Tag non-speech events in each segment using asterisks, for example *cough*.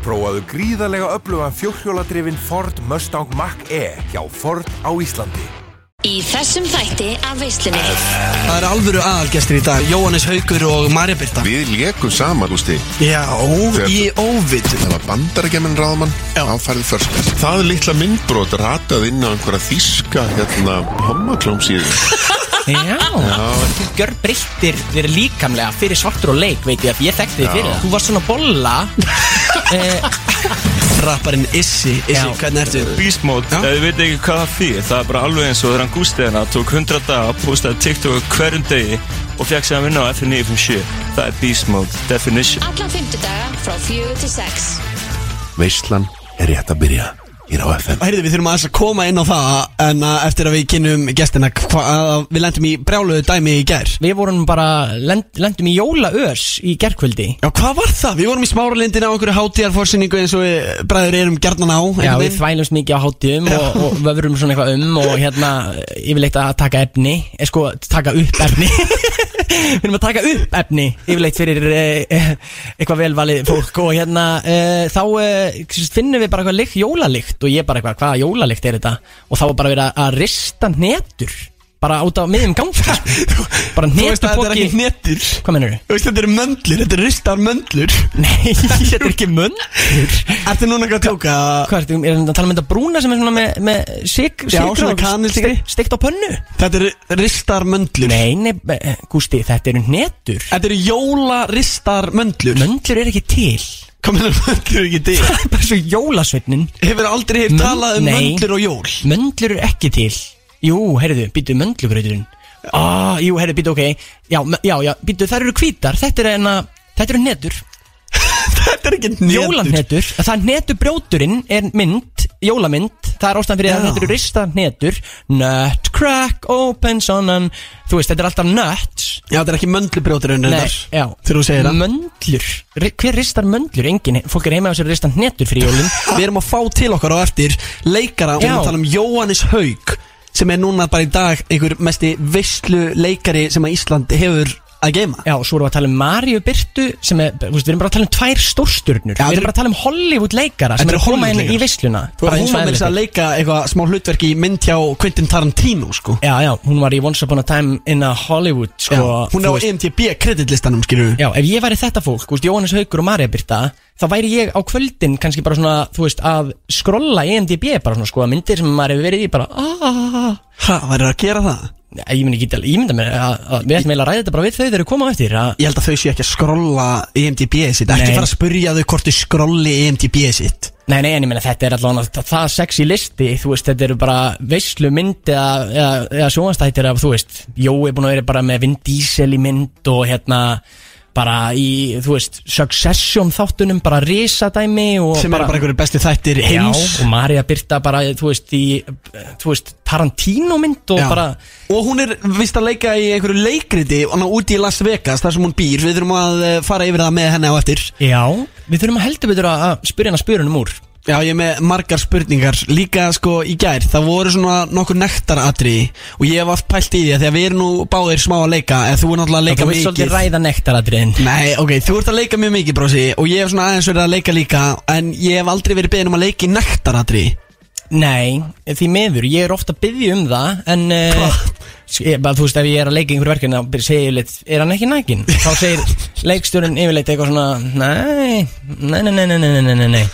Prófaðu gríðarlega öflugan fjórhjóladrifin Ford Mustang Mach-E hjá Ford á Íslandi. Í þessum þætti af veislunni Það er alvöru aðalgestir í dag Jóhannes Haugur og Marja Birta Við lékum saman, þú veist, Já, ó, í óvitu það var bandarækjaman ráðmann á færið först. Það litla myndbrot ratað inn á einhverja þíska hérna hommaklómsýðu. Já, þú gjör breyttir þér líkamlega fyrir svartur og leik veit ég að ég þekkti þig fyrir það Þú varst svona bolla eh, Rapparinn Issi, Issi, Já. hvernig ertu? Beastmode, Já. ef þið veit ekki hvað það þýðir Það er bara alveg eins og þegar hann gústi hérna Tók 100 daga, postaði TikTok á hverjum degi Og fekk sér að vinna á F957 Það er Beastmode, definition Alla fymtudaga frá fjögur til sex Veislan er rétt að byrja hér á FM. Heyrðu, við þurfum aðeins að koma inn á það en að eftir að við kynum gestina hva, að við lendum í brjáluðu dæmi í gær Við vorum bara, lend, lendum í jólaörs í gerkvöldi Já, hvað var það? Við vorum í smáralindin á einhverju hátíðarforsinningu eins og við bræður erum gerðan á Já, einhvern við veginn. þvælumst mikið á hátíðum og, og vöfrum svona eitthvað um og hérna yfirleitt að taka efni eh, sko, taka upp efni *laughs* Við erum að taka upp efni yfirleitt fyrir eh, eh, eitthvað velvalið fólk og hérna eh, þá eh, finnum við bara eitthvað lykt, jólalykt og ég bara eitthvað, hvaða jólalykt er þetta og þá var bara verið að- að rista hnetur bara út á miðjum gangi sko. bara *laughs* Þú veist að þetta er hnetupoki ekki netur Hvað mennur Þú veist þetta eru möndlur, þetta eru ristar möndlur Nei, *laughs* þetta er ekki möndur Ertu núna ekki að tjóka? Hvað ertu, er þetta að tala um þetta brúna sem er svona með, með syk, Já, sykur svona og kanilsykur. steik- steikt á pönnu? Þetta eru ristar möndlur Nei, nei, eh, Gústi, þetta eru netur Þetta eru jólaristar möndlur Möndlur er ekki til Hvað meina möndlur ekki til? *laughs* Það er bara svo jólasveitnin Hefur aldrei heyrt Mönd- talað um nei. möndlur og jól Möndlur er ekki til Jú, heyrðu, býtu möndlugrauturinn Ah, jú, heyrðu, býtu, ok Já, mö- já, já, býtu, það eru hvítar Þetta eru enna, þetta eru netur Þetta er ekki netur Jólanetur, það er netubrjóturinn er mynd, jólamynd Það er ástæðan fyrir Já. að þetta eru rista netur Nut, crack, open, sonan Þú veist, þetta er alltaf nuts Já, þetta er ekki möndlubrjóturinn reyndar já Þegar þú segir það Möndlur, Ri- hver ristar möndlur? Engin, fólk er heima á sér að rista netur fyrir jólin Við erum að fá til okkar á eftir leikara og við erum Já. að tala um Jóhannes Haug sem er núna bara í dag einhver mesti veistlu leikari sem að Ísland hefur að geima Já, svo erum við að tala um Maríu Byrtu sem er, þú veist, við erum bara að tala um tvær stórsturnur Já, Við þetta- erum bara að tala um Hollywood leikara Þetta sem er eru að koma inn í Hollywood-leikarar. veisluna Þú Bara veist, eins hún og var með þess að eðlilegt. leika eitthvað smá hlutverk í mynd hjá Quentin Tarantino sko Já, já, hún var í Once Upon a Time in a Hollywood sko, Já, Hún þú er á E veist. IMDb kreditlistanum skilur við Já, ef ég væri þetta fólk, þú veist, Jóhannes Haugur og Marja Birta þá væri ég á kvöldin kannski bara svona, þú veist, að E skrolla IMDb bara svona, sko, að myndir sem maður hefur verið í bara, aaaah Ha, væri að gera það? Ég myndi ekki, ég myndi mér að, að við ætlum eiginlega að ræða þetta bara við þau þegar við komum á eftir að Ég held að þau séu ekki að skrolla E IMDb sitt Ekki Nei. fara að spurja þau hvort þau skrolli E IMDb sitt Nei, nei, en ég meina þetta er allavega það, það sexy listi, þú veist, þetta eru bara veislu mynd eða, eða, eða sjónastættir af, þú veist, Jói er búin að vera bara með Vin Diesel í mynd og hérna bara í, þú veist, Succession þáttunum, bara risadæmi og Sem eru bara einhverju bestu þættir heims Já, og Marja Birta bara, þú veist, í, þú veist, Tarantino mynd og Já. bara Og hún er vist að leika í einhverju leikriti og hann úti í Las Vegas þar sem hún býr Við þurfum að eh, fara yfir það með henni á eftir Já, við þurfum að heldur betur að að spyrja hana spyrunum úr Já, ég er með margar spurningar Líka sko í gær, það voru svona nokkur nektaratri Og ég hef allt pælt í því að því að við erum nú báðir smá að leika En þú er náttúrulega að leika Þú veist svolítið mikið ræða nektaradriðin Nei, ok, þú ert að leika mjög mikið brósi Og ég hef svona aðeins verið að leika líka En ég hef aldrei verið beðin um að leika í nektaratri Nei, því miður, ég er ofta að byggja um það En uh, ég, bara, þú veist, ef ég er að leika í einhverju verkefni Þá byrja- segir yfirleitt, er hann ekki nækin? Þá *laughs* segir leikstjórinn yfirleitt eitthvað svona Nei, nei, nei, nei, nei, nei, nei, nei, nei.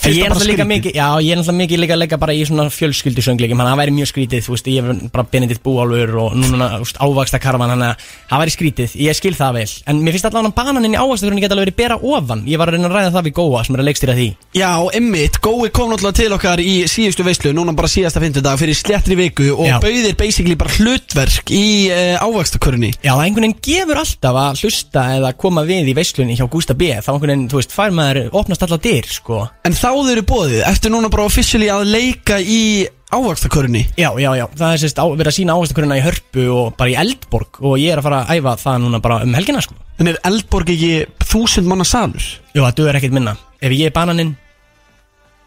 En Finnst Ég það er bara náttúrulega líka skrítið? mikið Já, ég er náttúrulega mikið líka að leika bara í svona fjölskyldisöngleikum Þannig að það væri mjög skrítið, þú veist, ég er bara Benedikt Búálfur og núna þú veist, ávaxta karfan Þannig að það væri skrítið, ég skil það vel En mér finnst allan að bananinn í ávaxta geta alveg verið bera ofan Ég var að reyna að ræða það við Góa sem er að leikstýra því Já, emmitt, gói kom náttúrulega til okkar í síðustu veislu Núna bara síðasta fyndudag fyrir slettri viku Og Já. bauðir basically bara hlutverk í uh, ávakstakörunni Já, það einhvern veginn gefur alltaf að hlusta eða koma við í veislunni hjá Gústa B þá einhvern veginn, þú veist, fær maður, opnast allar dyr, sko En þá þau eru bóðið, ertu núna bara officially að leika í ávakstakörunni Já, já, já, það er sérst á, verið að sína áherslukurina í Hörpu og bara í Eldborg og ég er að fara að æfa það núna bara um helgina, sko En er Eldborg ekki þúsund manna salur? Jú, það duður ekkert minna Ef ég er bananinn,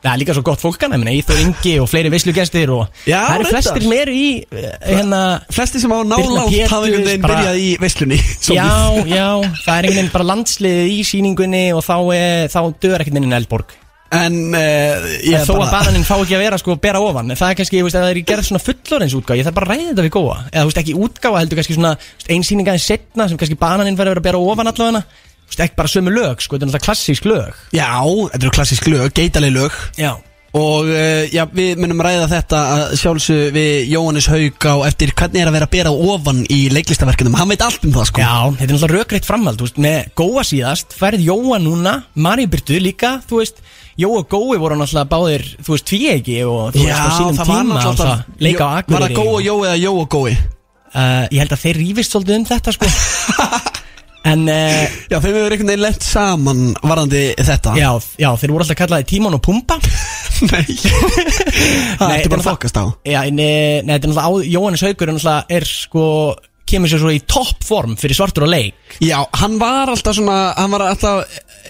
Það er líka svo gott fólk hann, ég meina Íþór Ingi og fleiri veislugestir og Já, það eru reyndar. flestir meir í eh, hérna Flesti sem á Birna nálátt Péturs, hafa einhvern veginn bara- byrjað í veislunni *laughs* Já, já, það er einhvern veginn bara landsliðið í síningunni og þá, eh, þá döður ekkert minni en Eldborg En uh, ég Ég þó að bananinn fá ekki að vera sko bera ofan en það er kannski, ég veist, ef það er gerð svona fullorins útgáð ég þarf bara að ræða þetta við góða eða þú veist, ekki útgáða, heldur kannski svona einsýninga en setna sem kannski bananinn verður að vera að bera ofan allavega þú veist, ekki bara sömu lög, sko, þetta er náttúrulega klassísk lög Já, þetta eru klassísk lög, geitalegi lög Já, Og uh, já, við munum ræða þetta að sjálfsög við Jóhannes Haug á eftir hvernig er að vera að bera ofan í leiklistaverkunum Hann veit allt um það sko já þetta er náttúrulega rökreitt framhald, þú veist, með góða síðast færið Jóa núna, Maríu Byrtu líka þú veist, Jóa og Gói voru náttúrulega báðir, þú veist, tvíegi og þú veist, á sínum það var tíma, náttúrulega alltaf, leika á Var það Akureyri Gói og- og Jói eða Jói og Gói? Uh, ég held að þeir rífist svolítið um þetta, sko. *laughs* En, eh, Já, þeim hefur einhvern veginn lent saman varðandi þetta Já, já, þeir voru alltaf kallaði Tímon og *laughs* Pumba Nei Það ertu bara að þetta- fokast á Já, en, eh, nei, þetta er náttúrulega á- Jóhannes Haugur er náttúrulega er sko kemur sér svo í toppform fyrir svartur og leik Já, hann var alltaf svona Hann var alltaf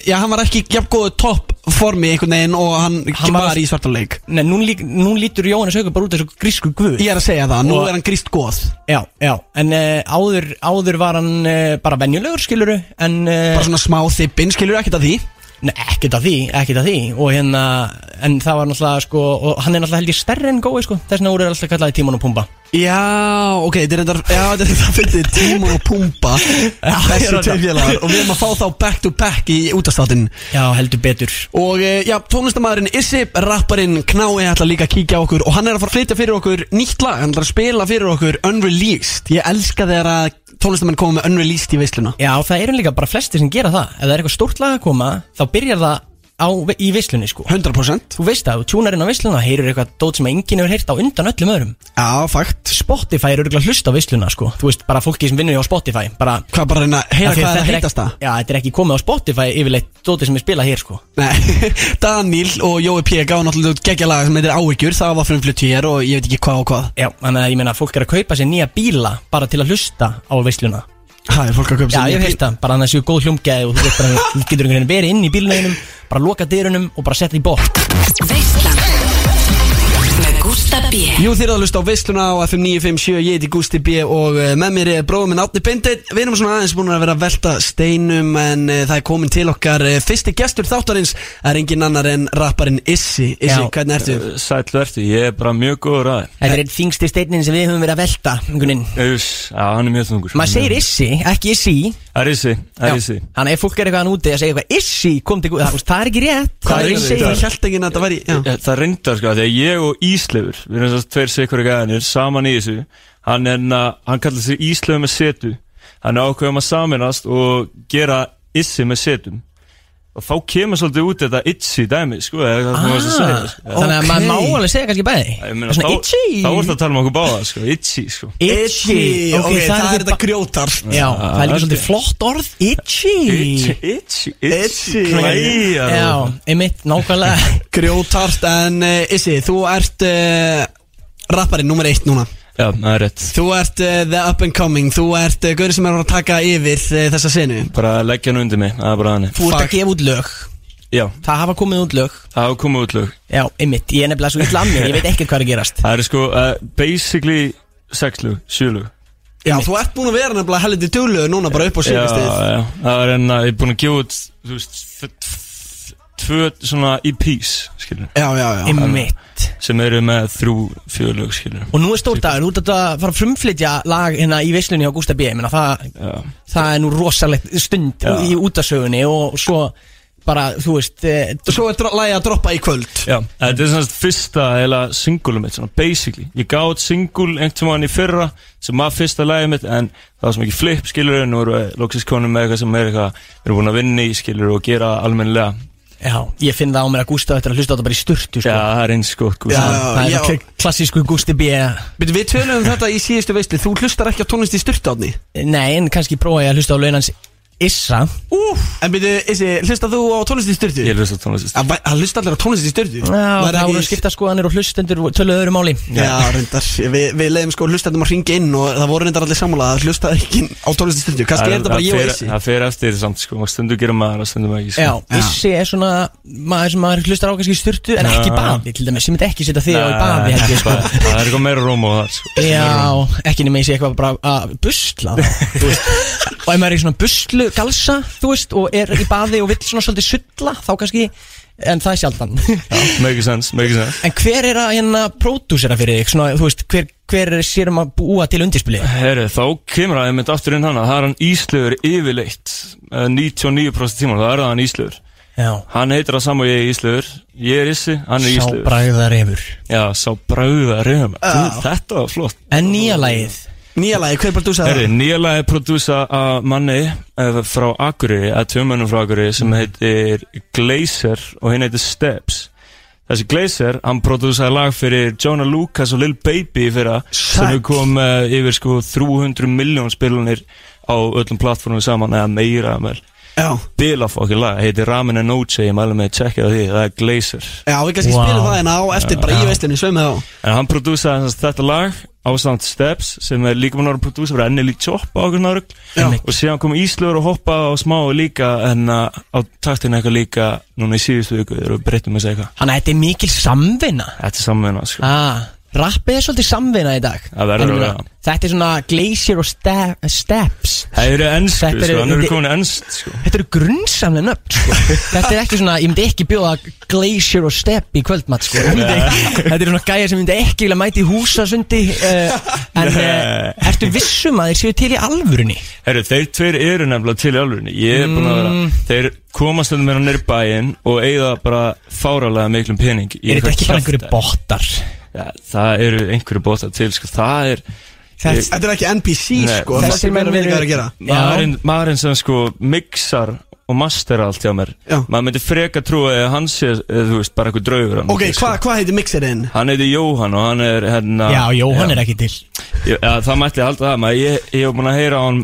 Já, hann var ekki jafn góðu topp formi einhvern veginn Og hann, Hann var, var- í svartarleik Nei, nú, lík, nú lítur Jóhannes Haugur bara út þessu grísku guð Ég er að segja það, nú Og- er hann gríst góð Já, já, en uh, áður, áður var hann uh, bara venjulegur skiluru En uh, Bara svona smá þippin, skilur ekkert að því Nei, ekkert að því, ekkert að því og hérna, en það var náttúrulega sko, og hann er náttúrulega held ég stærri en gói sko þess vegna voru þeir alltaf kallaði Tímon og Pumba Já, ok, þetta er endar Já, þetta er þetta fyrir tíma og pumpa ég er Þessi að- tveirfélagar Og við erum að fá þá back to back í útastáttin Já, heldur betur Og eh, já, tónlistamæðurinn Issi, rapparinn Knái ætla líka að kíkja á okkur Og hann er að fara að flytja fyrir okkur nýtt lag Hann ætla að spila fyrir okkur Unreleased Ég elska þegar að tónlistamenn koma með Unreleased í veisluna Já, það eru líka bara flesti sem gera það Ef það er eitthvað stórt lag að koma Þá byrjar það á, í vislunni sko 100% Þú veist það, þú tjúnar inn á visluna Heyrur eitthvað dót sem enginn hefur heyrt á undan öllum öðrum Já, fakt Spotify eru að hlusta á visluna sko Þú veist, bara fólki sem vinnur hjá Spotify bara, Hvað bara að reyna að heyra Af því að hvað er þetta að ekki- heitast það Já, þetta er ekki komið á Spotify yfirleitt Dóti sem er spilað hér sko Nei, *laughs* Daniel og Jói P. gáði náttúrulega út geggja lag sem heitir Áhyggjur Það var frumflutt hér og ég veit ekki hvað og hvað Já, þannig að ég meina fólk er að kaupa sér nýja bíla Bara til að hlusta á visluna Það er fólk að köpa Já, sér ég nýja hef heilt það, bara þannig að séu góð hljómgæði og þú veist bara, þú getur einhvern veginn verið inn í bílneginum, bara loka dyrunum og bara setja í bótt. Veislan Með Gústa B Jú þeir eru að hlusta á veisluna á FM 957, ég heiti Gústi B og eh, með mér er bróðum minn Átni Bindit Við erum svona aðeins búin að vera að velta steinum en eh, það er komin til okkar eh, fyrsti gestur þáttarins er engin annar en rapparinn Issi Issi, Já. hvernig ertu? Sætlu ertu, ég er bara mjög góður að þér Þetta er einn þingsti steinin sem við höfum verið að velta einhvern veginn. Uss, Já, hann er mjög þungur Maður segir issi, ekki issi Það er issi, Mm. það er issi Þannig ef fólk er eitthvað hann úti að segja eitthvað issi, kom til guð, það, þú veist, það er ekki rétt Hvað er Maður Issi? Það segir- held ekki að þetta væri já. Ég- Það reyndar sko, af því að ég og Íslefur Við erum þess að tveir sikkur gæðanir Saman í þessu Hann, er na- hann kallar sig Íslefur með setu Hann ákveðum að saminast og gera Issi með setum Og þá kemur svolítið út þetta itsi dæmi Sko, það er það sem þú varst að segja sko. Ah, Þannig að maður Ok. má alveg segja kannski bæði Ég meina, Svona þá- itchy Þá voru það að tala um okkur báða, sko, itchy, sko Itchy, ok, það er þetta því ba- grjótar Já, það er líka ok. svolítið flott orð, itchy hérna. itchy, Itchy. Hlæja, Já, einmitt, nákvæmlega Grjótart en eh, Issi, þú ert uh, rapparinn nummer eitt núna Já, það er rétt Þú ert uh, the up and coming, þú ert uh, gaurið sem er að taka yfir uh, þessa senu Bara að leggja hann undir mig, það er bara þannig Þú ert Fuck. að gefa út lög Já, Það hafa komið út lög það hafa komið út lög Já, einmitt, ég er nefnilega svo illa að mér, ég veit ekkert hvað er að gerast Það eru sko, uh, basically, sex lög, sjö lög Já, þú ert búin að vera nefnilega helviti duglegur núna bara upp á Já, síðastið já, það er enn að ég er búin að gefa út, þú veist, f- f- tvö svona EPs, skilur Já, já, já Einmitt Sem eru með þrjú, fjör lög, skilur Og nú er stór dagur, þú ert að fara að frumflytja lag hérna í veislunni á Gústa B. Ég meina, það, Já, það er nú rosalegt stund Já. í útasögunni og svo bara, þú veist, eh, Og svo er dro- lagið að droppa í kvöld Já, þetta er svona fyrsta eða singulum mitt, svona basically Ég gaf út singul einhvern tímann í fyrra sem var fyrsta lagið mitt en það var sem ekki flip, skilur við, nú eru við loksins konum með eitthvað sem er eitthvað, við erum búin að vinna í, skilur við, og gera almennilega já, ég finn það á mér að Gústa þetta að hlusta á þetta bara í sturtu, Já, sko. það er eins gott, gúst Já, það er já. já. klassísku Gústi B. Býtu, við tölum um þetta í síðustu veisli Þú hlustar ekki á tónlist í styrtáðni Nei, en kannski prófa ég að hlusta á launans Issa Úf En byrju, Issi, hlusta þú á tónlist í styrtu? Ég hlusta á tónlist Að hlusta allir á tónlist í styrtu? Já, það voru skipta skoðanir og hlustendur töluðu öðru máli Já, reyndar, við, við leiðum sko hlustendum að ringa inn og það voru reyndar allir sammála að hlusta ekki á tónlist í styrtu Kannski er þetta bara ég og Issi Það fer eftir samt sko, maður stundu gerum maður og stundum ekki sko. Já, Issi er svona maður sem maður hlustar á kannski í sturtu en ekki í Já. baði til dæmis, sem myndi ekki setja þig á í Nei, baði held ég sko það- Það er eitthvað meira róm á það sko. Já, ekki nema ég sé eitthvað bara að busla þá, þú veist. og ef maður er í svona buslu galsa þú veist, og er í baði og vill svona svolítið sulla þá kannski, en það er sjaldan Make sense, make sense En hver er að hérna pródúsera fyrir þig, svona, þú veist, hver, hver er sér um að búa til undirspili? Herri, þá kemur það einmitt aftur inn hana Það er hann Íslaugur yfirleitt eh, 99% tíma, það er það hann Íslaugur Já, Hann heitir það saman og ég er Íslaugur Ég er Issi, hann er sá Íslaugur bræðar yfir Já, sá bræða reyðum Þetta var flott En nýja lagið, Nýja lagi, hver bara þú Herri, sagði það? nýja lag er prodúsa af manni eh, frá Akureyri, að tjómanum frá Akureyri sem heitir Glazer og hinn heitir Steps Þessi Glazer, hann prodúsaði lag fyrir Jonah Lucas og Lil Baby í fyrra sem við kom uh, yfir sko 300 miljón spilunir á öllum plattformum saman eða meira meir. Já, Bilafokki lag, heitir Ramen and Oche ég mælu með að checka á því, það er Glazer já, við kannski Wow. spilum það en á eftir bara ég veist henni, sveim það á En hann prodúsaði þess- þetta lag ásamt Steps sem er líka mann að prodúsa fyrir Enneli Choppa okkur nárugl Já. og síðan kom Íslur og hoppa á smá líka en uh, á taktin eitthvað líka núna í síðustu viku þegar við breytum þessu eitthvað hann að þetta er mikil samvinna Þetta er samvinna sko. ah, Rappið er svolítið samvinna í dag Það verður En ég að meina, vera. Þetta er svona glacier og ste steps Það eru ennsku, Þetta eru- sko, hann eru þetta- komin í enskt sko. Þetta eru grunnsamlega nöfn sko. Þetta er ekki svona, ég myndi ekki bjóða Glacier og Step í kvöldmatt sko. Ég myndi ekki, Þetta eru svona gæja sem ég myndi ekki vilja mæti húsasundi uh, En uh, Nei. ertu vissum að þeir séu til í alvörunni? Herru, þeir tveir eru nefnilega til í alvörinni Ég er búin að Mm. vera Þeir komast þetta meira nýr bæinn og eigða bara fáralega miklum pening í Er þetta eitthvað ekki bara kjaftæði. einhverju bottar? Já, Það eru einhverju bóta til sko. Það er Þetta Þetta er ekki NPC Nei. sko, Þessir þessi menn menn veit eru- hvað er að gera Já. maðurinn, maðurinn sem sko mixar og mastera allt hjá mér Já. maður myndi freka trúa að hann sé eða, þú veist, bara eitthvað draugur hann Ok, myndi, hvað sko. hva heitir mixerinn? hann heiti Jóhann og hann er hérna Já, Jóhann er ekki til já, já, það mætti alltaf það maður ég, ég hef búin að heyra hann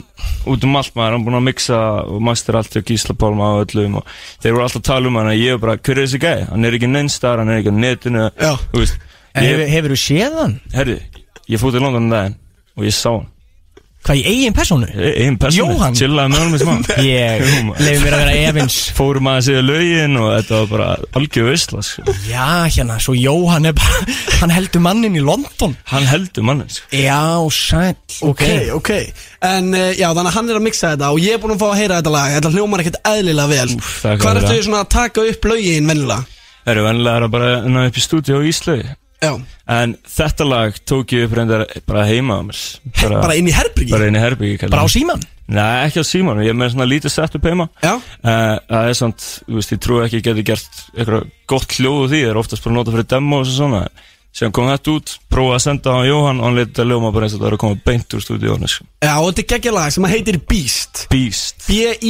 út um allt maður hann búin að mixa og mastera allt hjá Gísla Pálma og öllum og þeir voru alltaf að tala um hann og ég er bara, hver er þessi gæi? hann er ekki neinstar, hann er ekki á netinu Já. þú veist, Hefur, ég, hefur þú séð hann? herri, ég fótt í London um daginn og ég sá hann Hvað, í eigin personu? E- ein persónu, Jóhann? chillaði með honum í smá Ég Jú, maður. leiði mér að vera efins fórum að segja lögin og þetta var bara algjör veistla sko. Já, hérna, svo Jóhann er bara Hann heldur mannin í London hann heldur mannin sko. Já, sæll Ok, ok En uh, já, þannig að hann er að mixa þetta og ég er búin að fá að heyra þetta lag Þetta hljómar ekkert eðlilega vel Úff, það er Hvað glæðilega. ertu svona að taka upp lögin vennilega? það eru venlega að bara ná upp í stúdíu á Íslögi Já, en þetta lag tók ég upp reyndar bara heima á mér bara, bara inn í herbyrgi bara inn í herbyggi Bara á síman Nei, ekki á símanum, ég er með svona lítið setup heima Já. Eh, Það er samt, þú veist, ég trúi ekki að geti gert eitthvað gott hljóð úr því Það er oftast bara notað fyrir demo og svona Síðan kom þetta út, prófaði að senda hann Jóhann og hann lítið að ljóma bara eins og það er að koma beint úr stúdíónu sko. Já, og þetta er geggja lag sem að heitir Beast Beast,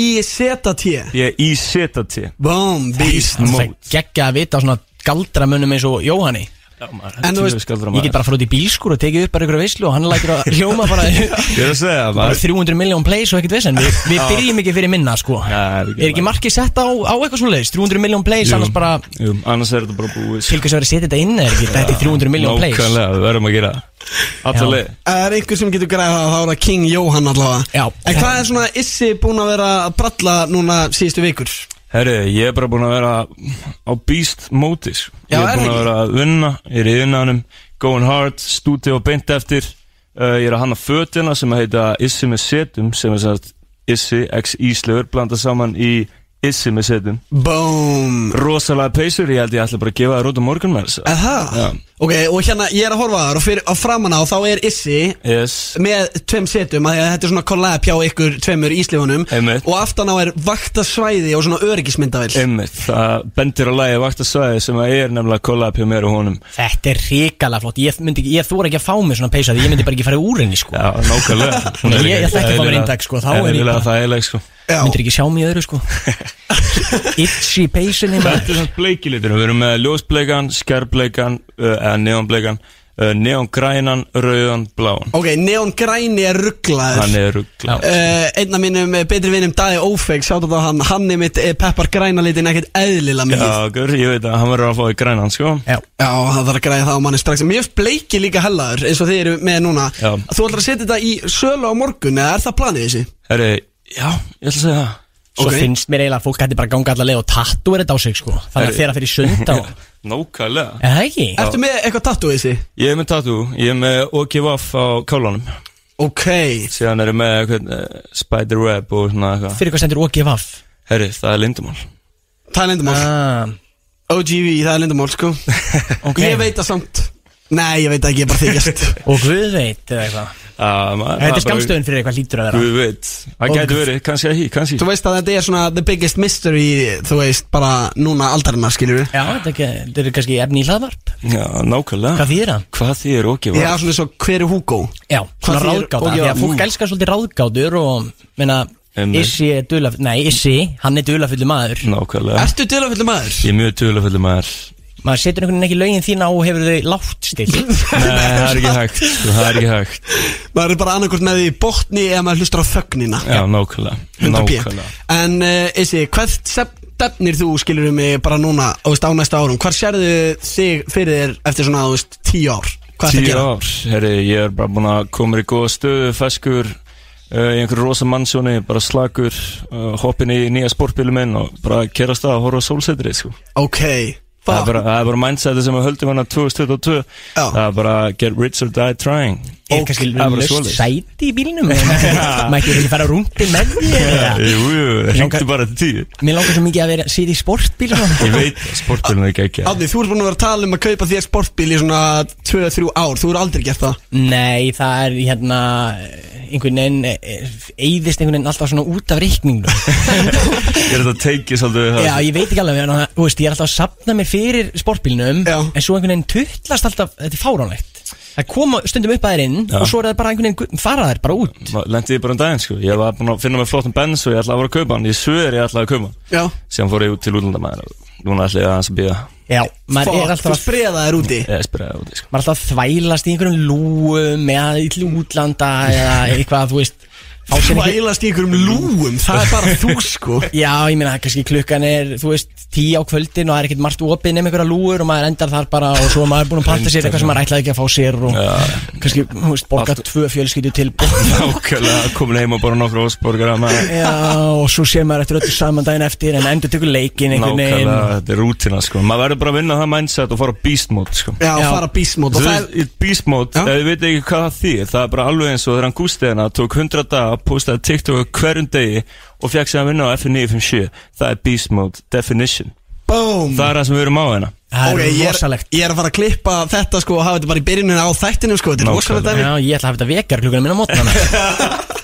B-I-Z-T ég er í ZT Boom, Beast Það Mót. er geggja að vita á svona galdramönnum eins og Jóhanni Já, maður, En þú heldur veist, við skaldrar Ég maður. get bara að fara út í bílskur og tekið upp bara ykkur veislu og hann lætir að hljóma *laughs* bara, Ég er að segja bara maður 300 miljón plays og ekkert vesen Við, við byrjum ekki fyrir minna sko Nei, við gerum Er ekki það. markið sett á, á eitthvað svona leiðis 300 miljón plays Jú. annars bara Jú, annars er þetta bara búið Til hvers að vera að setja þetta inn er ekki Þetta er 300 miljón plays Nákvæmlega, við verðum að gera Já. Alltaf leið Það er einhver sem getur græða það, þá er það King Jóhann allavega Já. En hvað er svona Issi búin að vera að bralla núna síðustu vikur? Herri, ég er bara búin að vera á beast móti sko. Ég Já, er er búin það að ekki? vera að vinna Ég er í vinnanum Going hard, stúti og beint eftir uh, Ég er að hanna fötina sem að heita Issi með setum sem er sagt Issi x Íslaugur blanda saman í Issi með setum Boom Rosalega peysur, ég held ég ætla bara að gefa það út á morgun með þess Eða það? Já. Ok, og hérna ég er að horfa á þar og fyrir á framan á þá er Issi Yes, með tveim setum að því að þetta er svona collab hjá ykkur tveimur íslifunum Einmitt. og aftan á er vaktasvæði og svona öryggismyndavill einmitt Það bendir á lagi vaktasvæði sem að er nefnilega kollab hjá mér og honum Þetta er hrikalega flott Ég, myndi ekki- ég þóra ekki að fá mig svona peysa því ég myndi bara ekki fara úr henni sko Já, nákvæmlega *laughs* Hún Ég- er ég líka þekki það bara eðlilega- eintak, sko, þá er ég eðlilega bara- þægileg, sko Já. Myndir ekki sjá mig í öðru sko Itchy peysunni maður. Þetta er svona bleikilitur Við erum með ljósbleikan, skærbleikan uh, eða neonbleikan uh, neon grænan, rauðan, bláan Ok, Neon Græni er rugglaður Hann er ruggla uh, Einn af mínum eh, betri vinum Dagi Ófeg, sjáðu þá hann Hann er mitt eh, peppar græna litin ekkert eðlilega mikið Já, gaur, ég veit að hann verður að fá í grænan, sko Já Já, það þarf að græða það á manni strax Mér finnst bleiki líka hellaður eins og þið eru með núna Já. Þú ætlar að setja þetta í sölu á morgun eða er það planið þessi? Herri, já, ég ætla að segja það Svo Ok. finnst mér eiginlega að fólk hætti bara að ganga alla leið og tattu er þetta á sig sko Þannig Herri. að þeirra fyrir sund á *laughs* Er Nákvæmlega það ekki? Ertu með eitthvað tattoo þessi? Ég er með tattoo, ég er með OKVF á kálanum Ok, Síðan er ég með eitthvað, uh, spiderweb og svona eitthvað Fyrir hvað sendur OGVAF? Herri, það er lindumál það er lindumál Ah, OGV, það er lindumál *laughs* sko ok Ég veit það samt Nei, ég veit það ekki, ég er bara *laughs* þykjast Og Guð veit eða eitthvað Þetta er skamstöðun fyrir eitthvað lítur að vera Þú veit, það Og- gæti verið, kannski að hí, kannski Þú veist að þetta er svona the biggest mystery Þú veist, bara núna aldarinnar skilur við Já, þetta er ekki- þetta er kannski efni í hlaðvarp Já, nákvæmlega Hvað þýðir það? Hvað þýr OKVF? Já, svona svo, hver er Hugo? Já, svona þýðir ráðgáta OGVAF? Því að fólk Mm. elskar svolítið ráðgátur og Meina, Einmitt. Issi er dulaf Nei, Issi, hann er dulafullu maður Nákvæmlega Ertu duðlafullu maður? Ég er mjög duðlefullu maður *laughs* Maður setur einhvern veginn ekki lögin þína á og hefur þau látt stilt Nei, það er ekki hægt sko, Það er ekki hægt Maður er bara annarkvort með því í botni eða maður hlustar á þögnina Já, nákvæmlega 100p. Nákvæmlega En uh, Issi, hvað stefnir þú skilur við mig bara núna á, veist, á næsta árum? Hvar sérðu þig fyrir þér eftir svona þú veist, tíu ár? Hvað ertu að Tíu gera? ár Herri, ég er bara búin að koma í góða stöðu Feskur uh, Í einhverju rosa mannsjóni Bara slagur uh, Hoppin í nýja sportbílu minn Og bara kera af stað að horfa á sólsetri sko. Ok, það, er fuck, bara, það er bara mindseti sem við höldum hann 2022 Já. Það er bara Get rich or die trying Er kannski Það er bara löst svoleiðis. sæti í bílnum Mætti ekki fara rúndin með því eða? *laughs* Jú, jú, Langar- hengtu bara til tíu Mér langar svo mikið að vera sýri í sportbíl Ég veit sportbílun er ekki ekki Átni, þú ert búin að vera að tala um að kaupa þér sportbíl í svona 2-3 ár, þú eru aldrei gert það Nei, það er hérna einhvern veginn eh, eyðist einhvern veginn alltaf svona út af reikningnum Ég er þetta að teiki svolítið við það Já, ég veit ekki alveg en, þú veist, ég er alltaf að sapna mér fyrir sportbílnum Já. en svo einhvern veginn tuttlast alltaf þetta er fáránlegt Það koma stundum upp að þeir inn Já. og svo er það bara einhvern veginn fara þær bara út Lendi ég bara um daginn sko Ég var búin að finna mig flottan bens og ég ætlaði að voru að kaupa hann Ég svör ég ætlaði að kaupa hann Já, Síðan fór ég út til útlandamæður Núna ætla ég aðeins að býða Já, maður er fuck, alltaf þú að spreða þér úti Ég spyrjaði úti sko *laughs* maður er alltaf að þvælast í einhverjum lúum eða í til útlanda eða eitthvað, þú veist fá sér einhver- Þvælast í einhverjum lúum, það er bara þú sko Já, ég meina, kannski klukkan er, þú veist, tíu á kvöldin og það er ekkert margt opið nema einhverja lúur og maður endar þar bara og svo er maður búin að panta sér eitthvað sem maður ætlaði ekki að fá sér og kannski, þú veist, borga tvö fjölskyldu til Nákvæmlega komin heim og bara nokkru ósborgar Já, og svo sé maður eftir öllu saman daginn eftir en endur tekur leikin einhvern veginn Nákvæmlega, þetta er rútina sko Maður verður bara að vinna það mindset og fara á beast mode sko Já, Já. fara bísmót og Þú það veist, í Beast mode, Já. ef þið veit ekki hvað það þýr Það er bara alveg eins og þegar hann gústi hérna Tók 100 daga, postaði TikTok á hverjum degi Og fekk sér að vinna á F957 Það er beast mode definition er BOOM Það er það sem við erum á hérna Það Ok, er ég er, rosalegt ég er að fara að klippa þetta sko og hafa þetta bara í byrjuninu á þættinu sko Þetta er Nákvæmlega. rosalega dæmi Já, ég ætla að hafa þetta vekjar klukkan minna *laughs* mótnana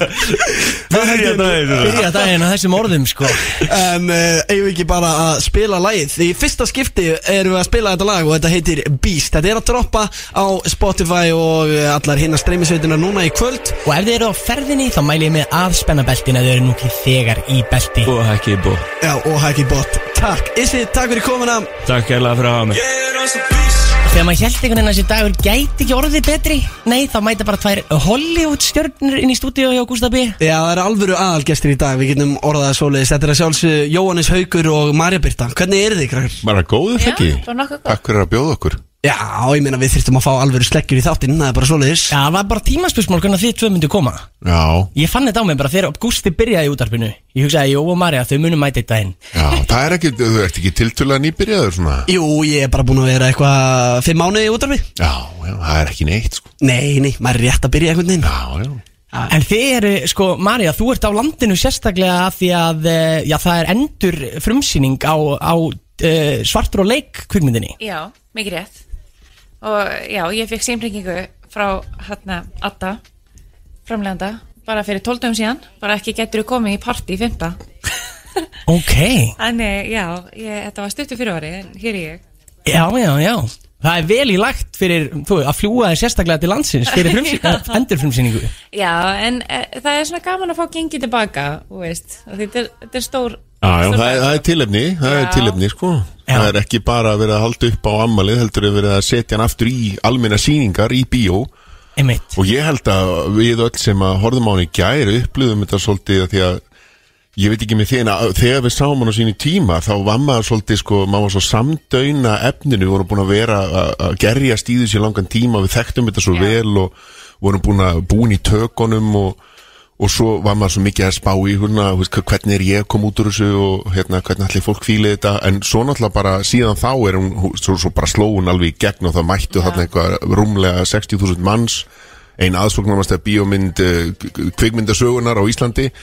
Byrja daginn, þú veist. Byrja daginn á þessum orðum, sko En uh, eigum við ekki bara að spila lagið Í fyrsta skipti erum við að spila þetta lag og þetta heitir Beast Þetta er að droppa á Spotify og eh, allar hinna streymisveitina núna í kvöld Og ef þið eru á ferðinni, þá mæli ég með aðspenna beltin ef þið eru nú ekki þegar í belti Og ekki í bó Já, og Haki Bot Takk, Issi, takk fyrir komuna Takk kærlega fyrir að hafa mig Þegar maður held einhvern veginn að þessi dagur gæti ekki orðið betri Nei, þá mæta bara tvær Hollywood stjörnur inn í stúdíu hjá Gústa B Já, það eru alvöru aðalgestir í dag, við getum orðað svoleiðis Þetta er að sjálfsög Jóhannes Haugur og Marja Birta Hvernig eru þið, krakkar? Bara góður Já, ekki? bara nokkuð góð. Takk fyrir að bjóða okkur Já, ég meina við þyrftum að fá alvöru sleggjur í þáttinn, það er bara svoleiðis Já, það var bara tímaspörsmál hvernig þið tvö myndu koma Já, Ég fann þetta á mig bara þegar Gústi byrjaði í útarpinu Ég hugsaði að Jó og Marja, þau munum mæta þetta inn já, það er ekki, þú ert ekki tiltölulega nýbyrjaður svona Jú, ég er bara búin að vera eitthvað fimm mánuði í útarfi Já, já, það er ekki neitt sko Nei, nei, maður er rétt að byrja einhvern veginn Já, já, En þið eru, sko, Marja, þú ert á landinu sérstaklega af því að eh, Já, það er endur frumsýning á, á uh, svartur og leik kvikmyndinni Já, mikið rétt og já, ég fekk símringingu frá hérna Adda framleganda, bara fyrir 12 dögum síðan bara ekki getur þú komið í partí í 5. Ok, Þannig, já, ég, þetta var stuttu fyrir ári en hér er ég já, já, já Það er vel í lagt fyrir, þú, að fljúa þér sérstaklega til landsins fyrir *laughs* frumsýningu, endur frumsýningu Já, en e, það er svona gaman að fá gengið tilbaka, þú veist og þetta er, þetta er stór já, já stór það, er- það er tilefni, það er Já. tilefni sko Það er ekki bara verið að halda upp á ammalið heldur er verið að setja hann aftur í almenna sýningar í bíó einmitt og ég held að við öll sem að horfum á hann í gæri upplöðum þetta svolítið að því að ég veit ekki með þeina, þegar við sáum hann á sínu tíma þá var maður svolítið sko, maður var svo samdöina efninu, vorum búin að vera að- að gerja stíðu sér langan tíma við þekktum þetta svo vel og vorum búin að búin í tökunum og, og svo var maður svo mikið að spá í húnna, hvernig er ég að koma út úr þessu og hérna, hvernig allir fólk fílið þetta en svo náttúrulega bara síðan þá er hún hún- svo, svo bara sló hún alveg í gegn og það mættu þarna eitthvað rúmlega 60.000 manns ein aðsóknarmasta bíómynd eh, k- k- kvikmyndasögunar á Íslandi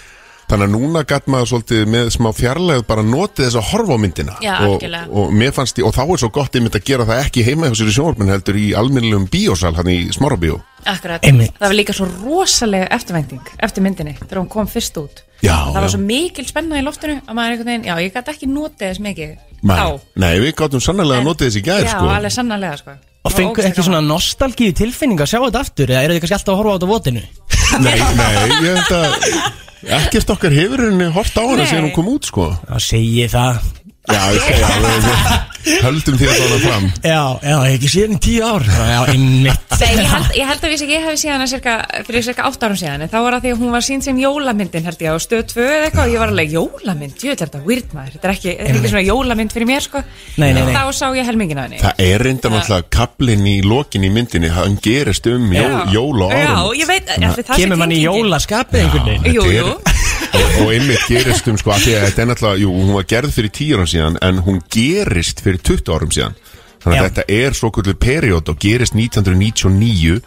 Þannig að núna gæt maður svolítið með smá fjarlæð bara notið þess að horfa á myndina Já, og, algjörlega. og, mér fannst, ég- og þá er svo gott einmitt að gera það ekki heima hjá sér í sjónvarpinu heldur í almennilegum bíósal hann í smárabíó Akkurat, Einmitt. það var líka svo rosalega eftirvænting eftir myndinni þegar hún kom fyrst út Já, Það var já. svo mikil spenna í loftinu að maður einhvern veginn, já ég gæti ekki notið þess mikið Nei, nei, við gáttum sannlega að notið þess í gæðir Já, sko. alveg sannarlega sko Og fengu ekki svona nostalgíu tilfinning að sjá þetta aftur Eða eru þið kannski alltaf að horfa á þetta á votinu? Nei, nei, ég held að ekkert okkar hefur henni hort á hana Nei. síðan hún kom út sko Já, segi ég það Já, ég segja, við, við höldum því að það fram Já, já, ég hef ekki séð henni í tíu ár Já, einmitt Nei, ég held, ég held að við ekki, ég hef séð hana cirka, fyrir cirka 8 árum síðan en þá var það því að hún var sín sem jólamyndin held ég á stöð 2 eða eitthvað og ég var alveg jólamynd, jú, þetta er weird maður þetta er ekki, þetta er ekki svona jólamynd fyrir mér sko Nei, nei, nei. Þá sá ég helmingin af henni Það er reynda náttúrulega kablin í lokin í myndinni, hann gerist um jó, jóla árum Já, ég veit, er það sé Kemur manni í tengingin? jólaskapið einhvern veginn Jú, Þetta jú, er- og, og einmitt gerist um sko af því að þetta er náttúrulega, jú, hún var gerð fyrir 10 árum síðan en hún gerist fyrir 20 árum síðan þannig að Já. þetta er svo kvöldur period og gerist 1999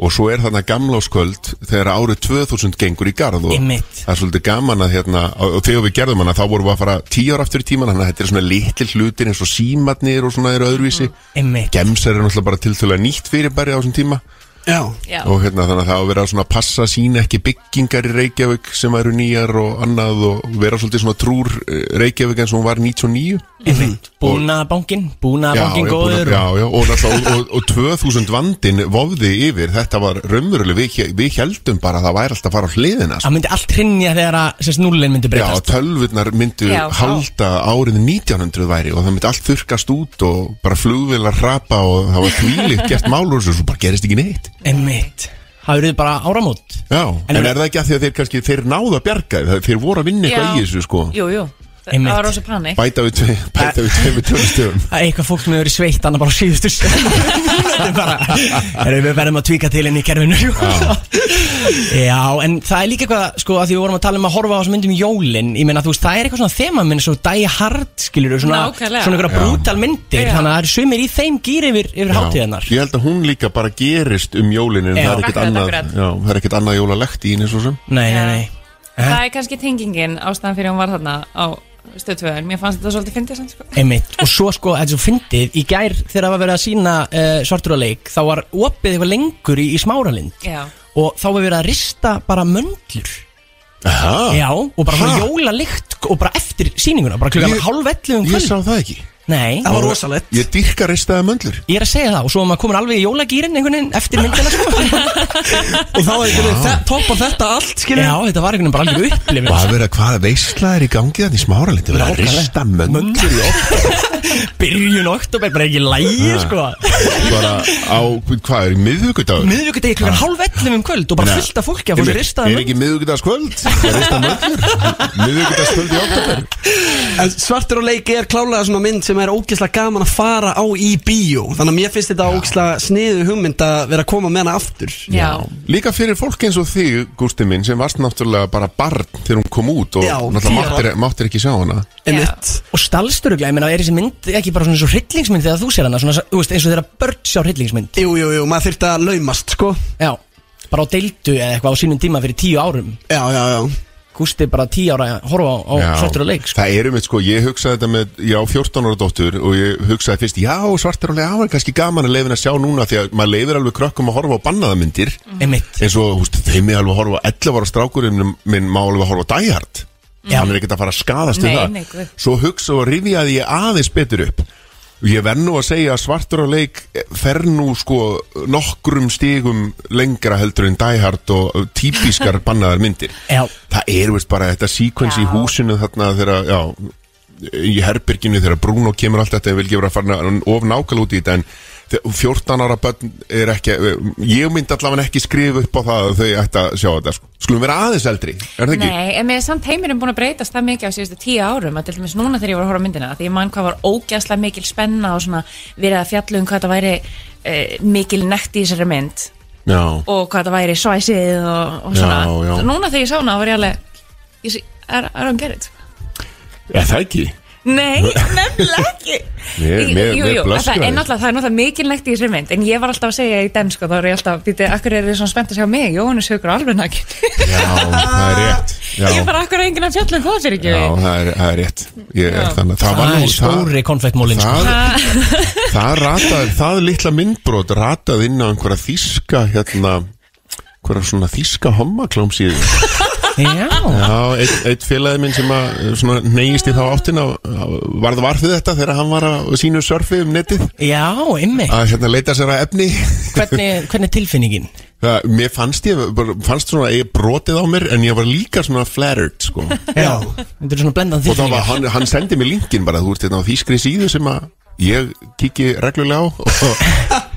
og svo er þarna gamláskvöld þegar árið 2000 gengur í garð og Einmitt. það er svolítið gaman að hérna og og þegar við gerðum hana þá vorum við að fara 10 ára aftur í tíman þannig að þetta er svona litli hlutir eins og símatnir og svona eru öðruvísi Einmitt gemsar er náttúrulega bara tiltölulega nýtt fyrirbæri á þessum tíma Já já og hérna þannig að það á að vera svona að passa sína ekki byggingar í Reykjavík sem eru nýjar og annað og vera svolítið svona trúr eh, Reykjavík eins og hún var 99 Búnaðabankin, búnaðabankin Mm. já, búin góður að- já, já, og, náttúrulega- og, og, og 2000 vandin vofði yfir, þetta var raunveruleg við, við heldum bara að það væri alltaf að fara á hliðina sko. Það myndi allt hrinja þegar að sérst núlinn myndi Já, breytast tölvurnar myndu Já, já. halda árið 1900 væri og það myndi allt þurkast út og bara flugvilar hrapa og það var kvílitt gert málur og svo bara gerist ekki neitt Einmitt Það eru bara áramót Já, en, er það ekki að því að þeir kannski, þeir náðu að bjarga þeir, þeir voru að vinna eitthvað í þessu sko Jú, jú, það Einmitt. það var rosa panik bæta við *laughs* tve, bæta við tveimur *laughs* tölustöfum Það er eitthvað fólk sem hefur verið sveitt annað bara á síðustu Þetta er bara Erum við verðum að tvíka til henni í kerfinu sko. Já, en það er líka eitthvað sko að því við vorum að tala um að horfa á þessum myndum í jólin Ég meina þú veist, það er eitthvað svona þema minn svo Die Hard skilur svona, Nákvæmlega. svona eitthvað Já. brútal myndir Já. þannig að það eru sumir í þeim gýr yfir, yfir hátíðarnar ég held að hún líka bara gerist um jólinin Já. það er ekkert Akkurat, annað, akkurat. já, það er ekkert annað jólalegt í henni svo sem Nei, nei, nei Það er kannski tengingin ástæðan fyrir hún var þarna á stöðtvöðun Mér fannst þetta svolítið fyndið sann sko. Einmitt, og svo sko, þetta er svo fyndið Í gær þegar það var verið að sína uh, svartur á leik Þá var opið eitthvað lengur í, í smáralind Já, Og þá var verið að rista bara möndlur Aha, Já, og bara svona Ha? jólalikt Og bara eftir sýninguna, bara klukkan Ég- hálf ellu um ég kvöld sá það ekki Nei, Það var rosalegt ég dyrka ristaði möndlur ég er að segja það Og svo maður komur alveg í jólagýrin einhvern veginn Eftir myndina *laughs* sko Og þá er þetta Toppa þetta allt skilur Já, þetta var einhvern veginn bara alveg upplifin og að vera hvað veisla er í gangi þannig smáralindi, vera að rista möndlur *laughs* í ofn Byrjun oktober, bara ekki lægi sko bara á, hvað er, miðvíkudagur Miðvíkudegi klukkan hálf ellu um kvöld Og bara fullt af fólki að fór sér ristaði er ekki miðvíkudagskvöld að rista möndlur *laughs* miðvíkudagskvöld í oktober En svartur og leik er klálega svona mynd sem er ógeðslega gaman að fara á í bíó Þannig að mér finnst þetta ógeðslega sniðu hugmynd að vera að koma með hana aftur já, Líka fyrir fólk eins og þig, Gústi minn, sem varst náttúrulega bara barn þegar hún kom út og Já, náttúrulega tíu ára. máttir, máttir ekki sjá hana. Einmitt Og stalsturuglega, ég meina, er þessi mynd ekki bara svona eins og hryllingsmynd þegar þú sér hana, svona, þú veist, eins og þeirra börn sjá hryllingsmynd Jú, jú, jú, maður þurfti að laumast, sko Já, bara á deildu eða eitthvað á sínum tíma fyrir tíu árum Já, já, já Gústi bara tíu ára að horfa á, á svartur og leik sko. Það eru mitt sko, ég hugsaði þetta með, ég á 14 ára dóttur og ég hugsaði fyrst, já, svartur alveg ára, kannski gaman að leifin að sjá núna því að maður leifir alveg krökkum að horfa á bannaðamyndir Einmitt, eins og, húst, þeim er alveg að horfa á 11 ára strákurinn minn má alveg að horfa á dæhart. Já. Hann er ekkert að fara að skadast Nei, við það. nei, guð. Svo hugsa og rifjaði ég aðeins betur upp. Og Ég verð nú að segja að svartur á leik fer nú sko nokkrum stigum lengra heldur en dæhart og típiskar bannaðar myndir. já, Það er veist bara þetta sequence í húsinu þarna þegar, já, í herberginu þegar Bruno kemur allt þetta ég vil ekki vera að fara of nákvæmlega út í þetta en þe- 14 ára börn er ekki ég myndi allavega ekki skrifa upp á það að þau ætti að sjá þetta sko. skulum vera aðeins eldri, er það ekki? Nei, en mér er samt heiminum búin að breytast það mikið á síðustu tíu árum að til dæmis núna þegar ég var að horfa á myndina því ég man hvað var ógæslega mikil spenna og svona verið að fjallu um hvað það væri e, mikil nekt í þessari mynd Já, og hvað það væri svæsið og, og svona Já, já. Núna þegar ég sá hana var ég alveg ég sé, er, er hann gerðið? er það ekki? *laughs* Nei, nefnilega ekki Mér- Ég- mér- Jú, mér jú, blöskrar það er þessu. náttúrulega, það er náttúrulega mikil nekt í þessari mynd en ég var alltaf að segja í den sko, þá er ég alltaf, býtið, akkur er þið svona spennt að sjá mig Jóhannes haukur alveg nakin Já, það er rétt Já, Ég bara akkur er enginn að fjalla um það fyrir ekki já það, er, það er rétt ég, er þannig, að það var Það nú er stóri konfektmólin sko. það, Ah, *laughs* það rataði, það litla myndbrot rataði inn á einhverja þíska hérna, einhverja svona þíska hommaklómsíðu Já, Já, eitt, eitt félagi minn sem að eh, svona neyist í þá áttina eh, varð varfið þetta þegar hann var að sínu surfi um netið já, ymmi að hérna leita sér að efni Hvernig, hvernig er tilfinningin? Það, Mér fannst ég, bara- fannst svona að ég brotið á mér en ég var líka svona flattered sko og Já Þetta er svona blendan þá var tilfinningar hann, hann sendi mér linkin bara þú ert hérna á þýskri síðu sem að ég kiki reglulega á og,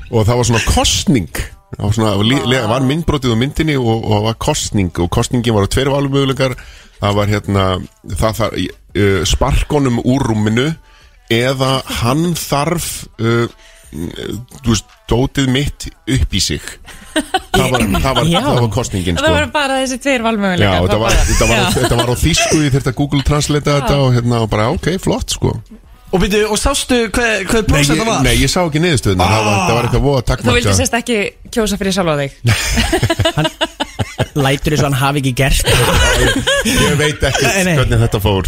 og það var svona kostning það var, svona, li- le- var myndbrotið á myndinni og, og það var kostning og kostningin var á tveir valmögulegar það var hérna það þar, uh, sparkonum úr rúminu eða hann þarf uh, þú veist, dótið mitt upp í sig það var, það var, Já. það var kostningin sko. *laughs* Það var bara þessi tveir valmöguleika Já, þetta var, þetta, var, Já. þetta var á þýsku, ég þurfti að Google translate þetta og hérna og bara, ok, flott sko Og býttu, og sástu hver, hver Nei, prósent ég, það var? nei, ég sá ekki niðurstöðuna, það var, það var eitthvað voða *laughs* Ah. Þú vildi takkmarka sérst ekki kjósa fyrir sjálfa þig Lætur þess að hann hafi ekki gert það. Ég veit ekki Nei, nei. hvernig þetta fór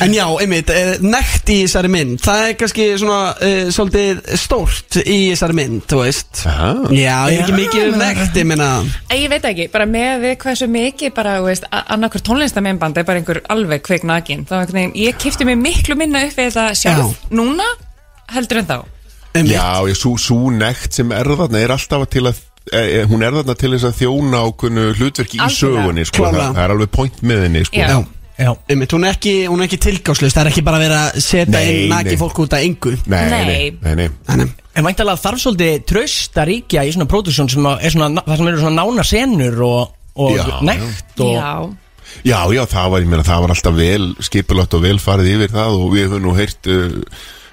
En já, einmitt, eh, nekt í þessari mynd Það er kannski svona uh, svolítið stórt í þessari mynd, þú veist Aha. Já, ég er ekki Já, mikið um meina- nekt, ég meina Æ, Ég veit ekki, bara með við hversu mikið bara, þú veist, annarkur tónlistamenband er bara einhver alveg kveik nakin Þá einhvern veginn, ég kipti mig miklu minna upp við þetta sjálf Núna heldur en þá einmitt. Já, ég, sú, sú nekt sem er þarna er alltaf til að e, e, hún er þarna til þess að þjóna ákveðnu hlutverki í Algjörlega. sögunni sko, það, Klárlega. það er alveg point með henni sko. Já. Já, Já einmitt, hún er ekki, hún er ekki tilgáslust Það er ekki bara verið að setja Nei, inn naki nei. fólk út af engu Nei, nei, Nei. nei, nei. Þannig, En væntalega þarf svolítið tröst að ríkja í svona pródusjón sem að- er svona, það sem eru svona nána senur og, og Já, já. nekt og Já, Já, já, það var, ég meina, það var alltaf vel skipulagt og vel farið yfir það og við höfum nú heyrt uh,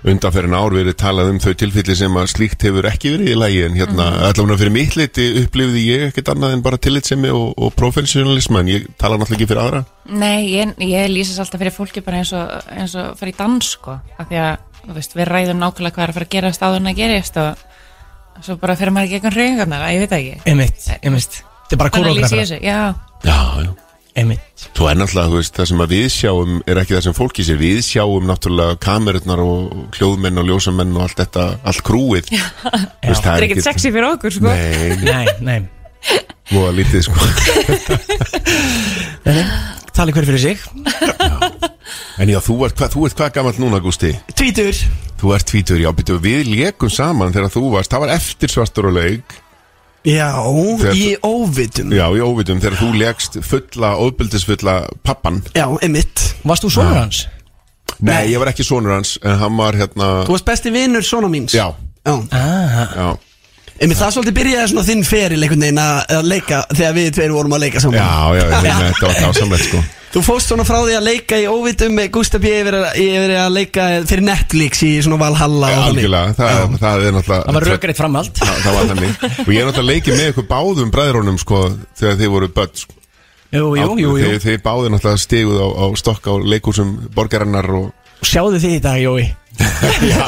undanferðin ár verið talað um þau tilfelli sem að slíkt hefur ekki verið í lagi en hérna, Mhm. allavega fyrir mitt liti upplifði ég ekkert annað en bara tillitsemi og, og professionalism en ég tala náttúrulega ekki fyrir aðra nei, ég, ég lýsast alltaf fyrir fólki bara eins og, eins og fara í dans sko Af því að, þú veist, við ræðum nákvæmlega hvað er að fara að gerast áður en að gerist og svo bara fyrir maður í gegnum reyðingarnar, ég veit það ekki Emitt, emitt Þetta er bara Þannig lýsi ég kórógrafra þessu, já Já, já Emitt Þú er náttúrulega, þú veist, það sem að við sjáum er ekki það sem fólki sér, við sjáum náttúrulega kamerurnar og hljóðmenn og ljósamenn og allt þetta, allt krúið Já, veist, Það er ekkert sexy fyrir okkur sko Nei, Nei, nei múða lítið sko *laughs* Tali hver fyrir sig En já, þú ert, hvað, þú ert hvað gamall núna, Gústi? Tvítur Þú ert tvítur, já, betur við lékum saman þegar þú varst, það var eftir svartur og laug Já, Þegar- í óvitum Já, Já, í óvitum, þegar þú legst fulla, óbyldisfulla pappan einmitt Varst þú sonur hans? Nei, ég var ekki sonur hans, en hann var hérna Þú varst besti vinur svona míns Já, Já. Ah, já, Einmitt, það svolítið byrjaði svona þinn feril einhvern veginn að að leika þegar við tveir vorum að leika saman já, já, ég meina, þetta var dásamlegt sko Þú fóst svona frá því að leika í óvitum með Gustaf B. yfir að, yfir að leika fyrir Netflix í svona Valhalla og þannig. Algjörlega, það, það er náttúrulega það var rökreitt framhald það, það var þannig Og ég er náttúrulega leikið með ykkur báðum bræðrónum sko, þegar þið voru börn sko. Jú, jú, jú, jú Þið, þið báðir náttúrulega steguð á, á stokk á leikúsum borgarinnar og Sjáðu þið í dag, Jói Já,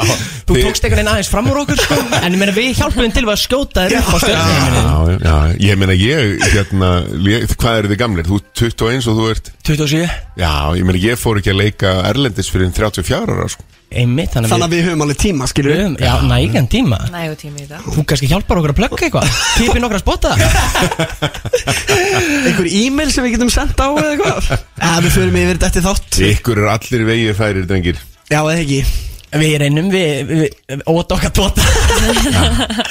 Þú tókst einhvern veginn aðeins fram úr okkur sko En ég meina við hjálpuðum til við að skjóta þér upp á stjórnum Já, já, ég meina ég, hérna, ég, hvað eru þið gamlir? Þú ert 21 og þú ert, 27 já, ég meina ég fór ekki að leika Erlendis fyrir en 34 ára, sko. Einmitt, þannig Þannig að að við höfum alveg tíma, skilur við Já, nægan tíma Nægu tími í þetta Þú kannski hjálpar okkur að plugga eitthvað Kipi nokkra spotta Einhver e-mail sem við getum sendt á *laughs* eða eitthvað? Já, við förum yfir þetta eftir þátt Ykkur eru allir vegið færir, drengir. Já, eða ekki Við reynum, við, við, við óta okkar tóta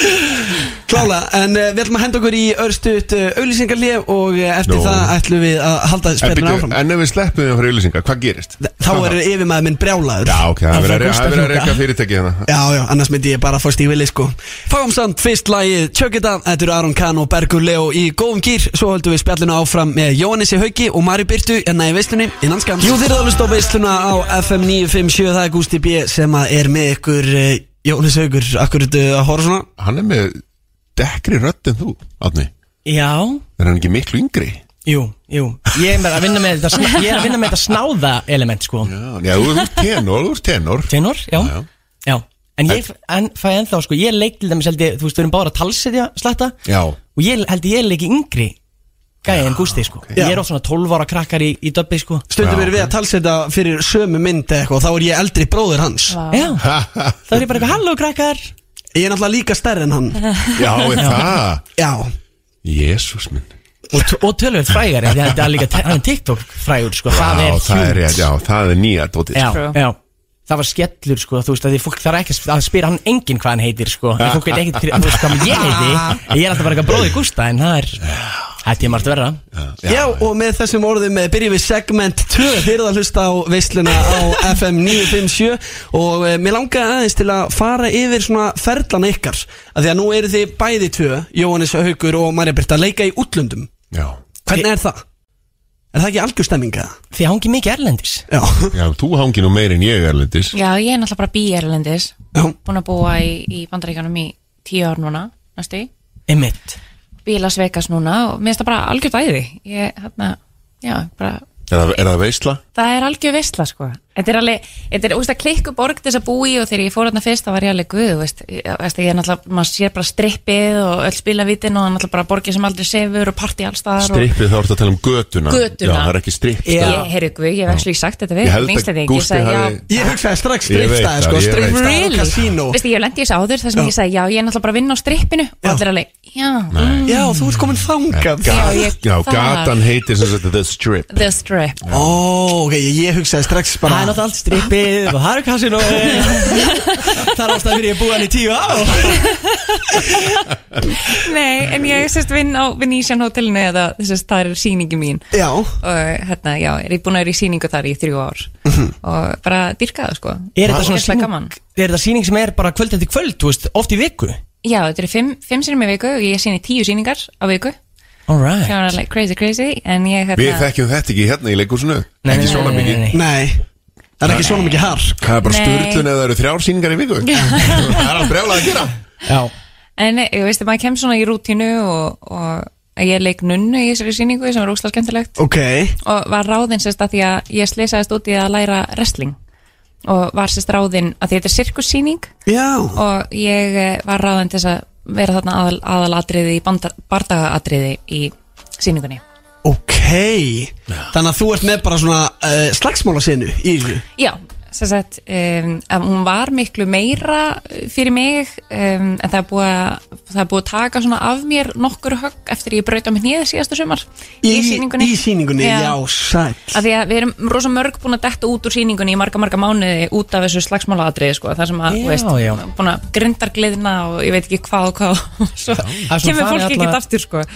Klála, en uh, við ætlum að henda okkur í örstuðt uh, auglýsingarlið og uh, eftir Nú. það ætlum við að halda En, spilin byrju, áfram en ef við sleppum því fyrir auðlýsingar, hvað gerist? Þá er yfirmaður minn brjálaður Já, ok, það Það er verið að- það fer er verið að Gústa reyka þangað. fyrirtæki hérna Já, já, annars myndi ég bara fá stífili sko Fáum samt fyrst lagið Tjökita Þetta eru Aron Kahn og Bergur Leo í góðum gýr Svo höldum við spjallinu áfram með Jóhannessi Hauki og Mari Byrtu Enna í veislunni innan skams Jú, þeir eru að hlusta á veisluna á FM 957 Það er Gústi B sem að er með ykkur eh, Jóhannes Haukur, akkur ertu að horfa svona Hann er með dekkri rödd en þú, Átni Já, Er hann ekki miklu yngri? jú, jú Ég er bara að vinna með þetta, sn- ég er að vinna með þetta snáða element sko Já, já þú ert tenor, þú ert tenor Tenor, já, Já, já. já. En ég en, fæ ennþá sko, ég leik til dæmis held ég, þú veist, við erum bara að talsetja sletta Já, *laughs* Og ég held ég leiki yngri gæði en gústi sko Ég er oft svona 12 ára krakkar í, í döbbi sko Stundum Já, erum við að talsetja fyrir sömu mynd eða eitthvað og Þá er ég eldri bróðir hans Já, þá er ég bara eitthvað, halló krakkar Ég er náttúrulega líka stærri en hann já, er það Já, Jésús minn Og, t- og tölvöld frægari, því að þetta er líka, t- hann er TikTok frægur sko, það Já, er það er, huge. rétt, já, það er nýja dótið já, True. já. Það var skellur sko, þú veist að því fólk þarf ekki að spyrja hann enginn hvað hann heitir sko En fólk veit ekkert þú veist hvað maður ég heiti Ég er alltaf bara eitthvað bróði Gústa en það er, þetta er margt verra Já, og með þessum orðum eh, byrjum við segment 2 Þeir eru að hlusta á veisluna á FM 957 Og e, mér langaði aðeins til að fara yfir svona ferlan ykkar af Því að nú eru þið bæði tvö, Jóhannes Haugur og Marja Birta, að leika í útlöndum Já, Hvernig er það? Er það ekki algjörstemminga? Því hann ekki mikið erlendis Já, *laughs* já þú hangi nú meir en ég erlendis Já, ég er náttúrulega bara bí erlendis já, Búin að búa í, í bandaríkjanum í tíu ár núna Næstu í Einmitt Bílas Vegas núna og mér finnst það bara algjörð æði Ég, hérna, já, bara Er það, er það veisla? Það er algjör veistla sko Þetta er alveg, þetta er, þú veist, að klikku borg til þess að búi og þegar ég fór hérna fyrst þá var ég alveg guð, þú veist, ég, veist, ég er náttúrulega, maður sér bara strippið og öll spilavítin og náttúrulega bara borgið sem aldrei sefur og partí allstaðar og Strippið þá ertu að tala um götuna Götuna. Já, það er ekki stripp ég, staður. heyrðu guð, ég hef ekki sagt þetta við Ég held að Íslendingi, ég Gústi sagði, hafi já, ég hugsaði strax Ég veit streifstæði það, sko, ég veit streifstæði og Really? kasínó Veistu, ég lendi í þessu áður þar sem Já. ég sagði, já, ég er náttúrulega bara að vinna á strippinu og Já. allir alveg, já, Já, þú ert komin þangað Já, ég- Já, það- gatan heitir sem sagt The Strip the strip Ó, ok, ég- ég hugsaði strax bara Það er náttúrulega allt strippið og það eru kassin og Það er ástæð fyrir ég búið hann í tíu á Nei, en ég sérst vinn á Venetian hotellinu eða þess að það er sýningi mín Já, og hérna, já, er ég búin að vera í sýningu þar í þrjú ár Mhm. og bara dyrka það, sko Er þetta svona Ógeðslega gaman. sýning, er þetta sýning sem er bara kvöld eftir kvöld, þú veist, oft í viku Já, þetta eru fimm, fimm sinni með viku og ég sýni tíu sýningar á viku All sem right er like crazy crazy en ég Við hérna þekkjum þetta ekki hérna í leikúsinu Nei, nei, Ekki nei, svona nei, nei, mikið nei. nei, það er ekki svona mikið hark Það er bara Nei. sturlun eða það eru þrjár síningar í *laughs* viku Það er að brjála að gera Já, en eh, ég veist að maður kemst svona í rútínu og, og að ég leik nunnu í þessari sýningu sem var óslega skemmtilegt Ok, og var ráðin sérst að því að ég slisaðist út í að læra wrestling og var sérst ráðin að því þetta er sirkussýning já og ég eh, var ráðan til þess að vera þarna aðal, aðalatriði í banda- bardagaatriði í síningunni. Ok, þannig að þú ert með bara svona uh, slagsmálasinu í þessu Já, sem sagt, um, að hún var miklu meira eh, fyrir mig um, en það er, búið að, það er búið að taka svona af mér nokkur högg eftir ég braut á mér nýða síðasta sumar í, sýningunni. Í sýningunni, já, sæll Af því að við erum rosa mörg búin að detta út úr sýningunni í marga marga mánuði út af þessu slagsmálaatriði sko, þar sem að, Já, þú veist, já. búin að grindar gleðina og ég veit ekki hvað og hvað og *laughs* svo Það er svona kemur farið fólk alla- ekkert aftur sko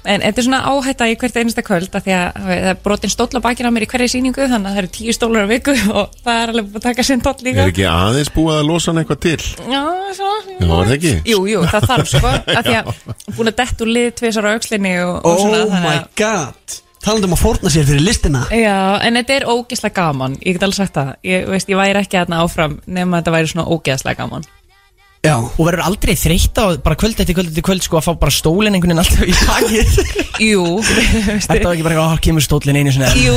en þetta er svona áhætta í hvert einasta kvöld af því að þú veist, það er brotin stóll á bakinn á mér í hverju sýningu þannig að það eru tíu stólar á viku *laughs* og það er alveg búin að taka sinn tóll líka Er ekki aðeins búið að losa hann eitthvað til Já, svona Já, var það ekki? Jú, jú, það þarf sko af *laughs* því að búin að detta úr lið tvisar á aukslinni og, og Oh svona my þannig að god Talandum að fórna sér fyrir listina Já, en þetta er ógeðslega gaman, ég get alveg sagt það Ég, veist, ég væri ekki aðna áfram nema þetta væri svona ógeðslega gaman Já, og verður aldrei þreytt á bara kvöld eftir kvöld eftir kvöld sko að fá bara stólinn einhvern veginn alltaf í *laughs* takið Jú, *laughs* Þetta var ekki bara að kemur stólinn einu sinni enn?" jú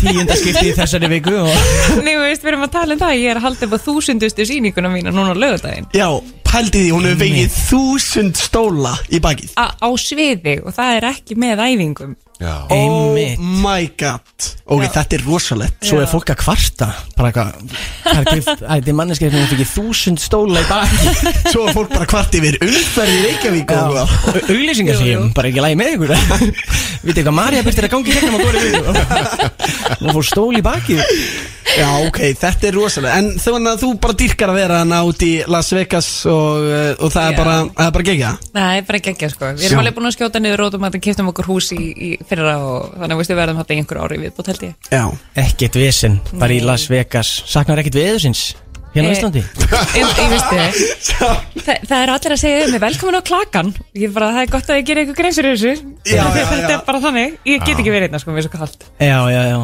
tíunda skipti í þessari viku og Nei, veist, við erum að tala um það Ég er að halda upp á þúsundustu sýninguna mína núna á lögudaginn já, pældi því, hún hefur vegið þúsund stóla í bakið Á sviði og það er ekki með æfingum Já. Oh *laughs* Einmitt. my god Ok, þetta er rosalegt Svo er fólk að kvarta bara eitthvað Það er grift, æ, þetta er manneskið sem fikk þúsund stóla í baki Svo er *laughs* fólk bara kvart yfir umferð í Reykjavík Já, og auglýsingar sem ég bara ekki lægi með ykkur *laughs* Vitið hvað Marja byrtir að gangi hérna og góri *laughs* við Nú fór stól í baki Já, ok, þetta er rosalega En þannig að þú bara dýrkar að vera hann út í Las Vegas og, uh, og það Já. er bara, það er bara gegja Nei, bara ekki sko. Við erum alveg búin að skjóta niður rótum að kiptum okkur hús í, í fyrra og þannig að veist, við verðum þetta í einhver ári viðbútt held ég. Já Ekkert vesen, bara í Las Vegas Saknar ekkert veðusins Hérna á Eh, Íslandi Ég, ég veist þið, Þa, það er allir að segja mig velkomin á klakan. Ég bara, það er gott að ég gera eitthvað greins fyrir þessu. Já, já, já. *laughs* Þetta er bara þannig. Ég get ekki verið hérna, sko, mér er svo kallt. Já, já, já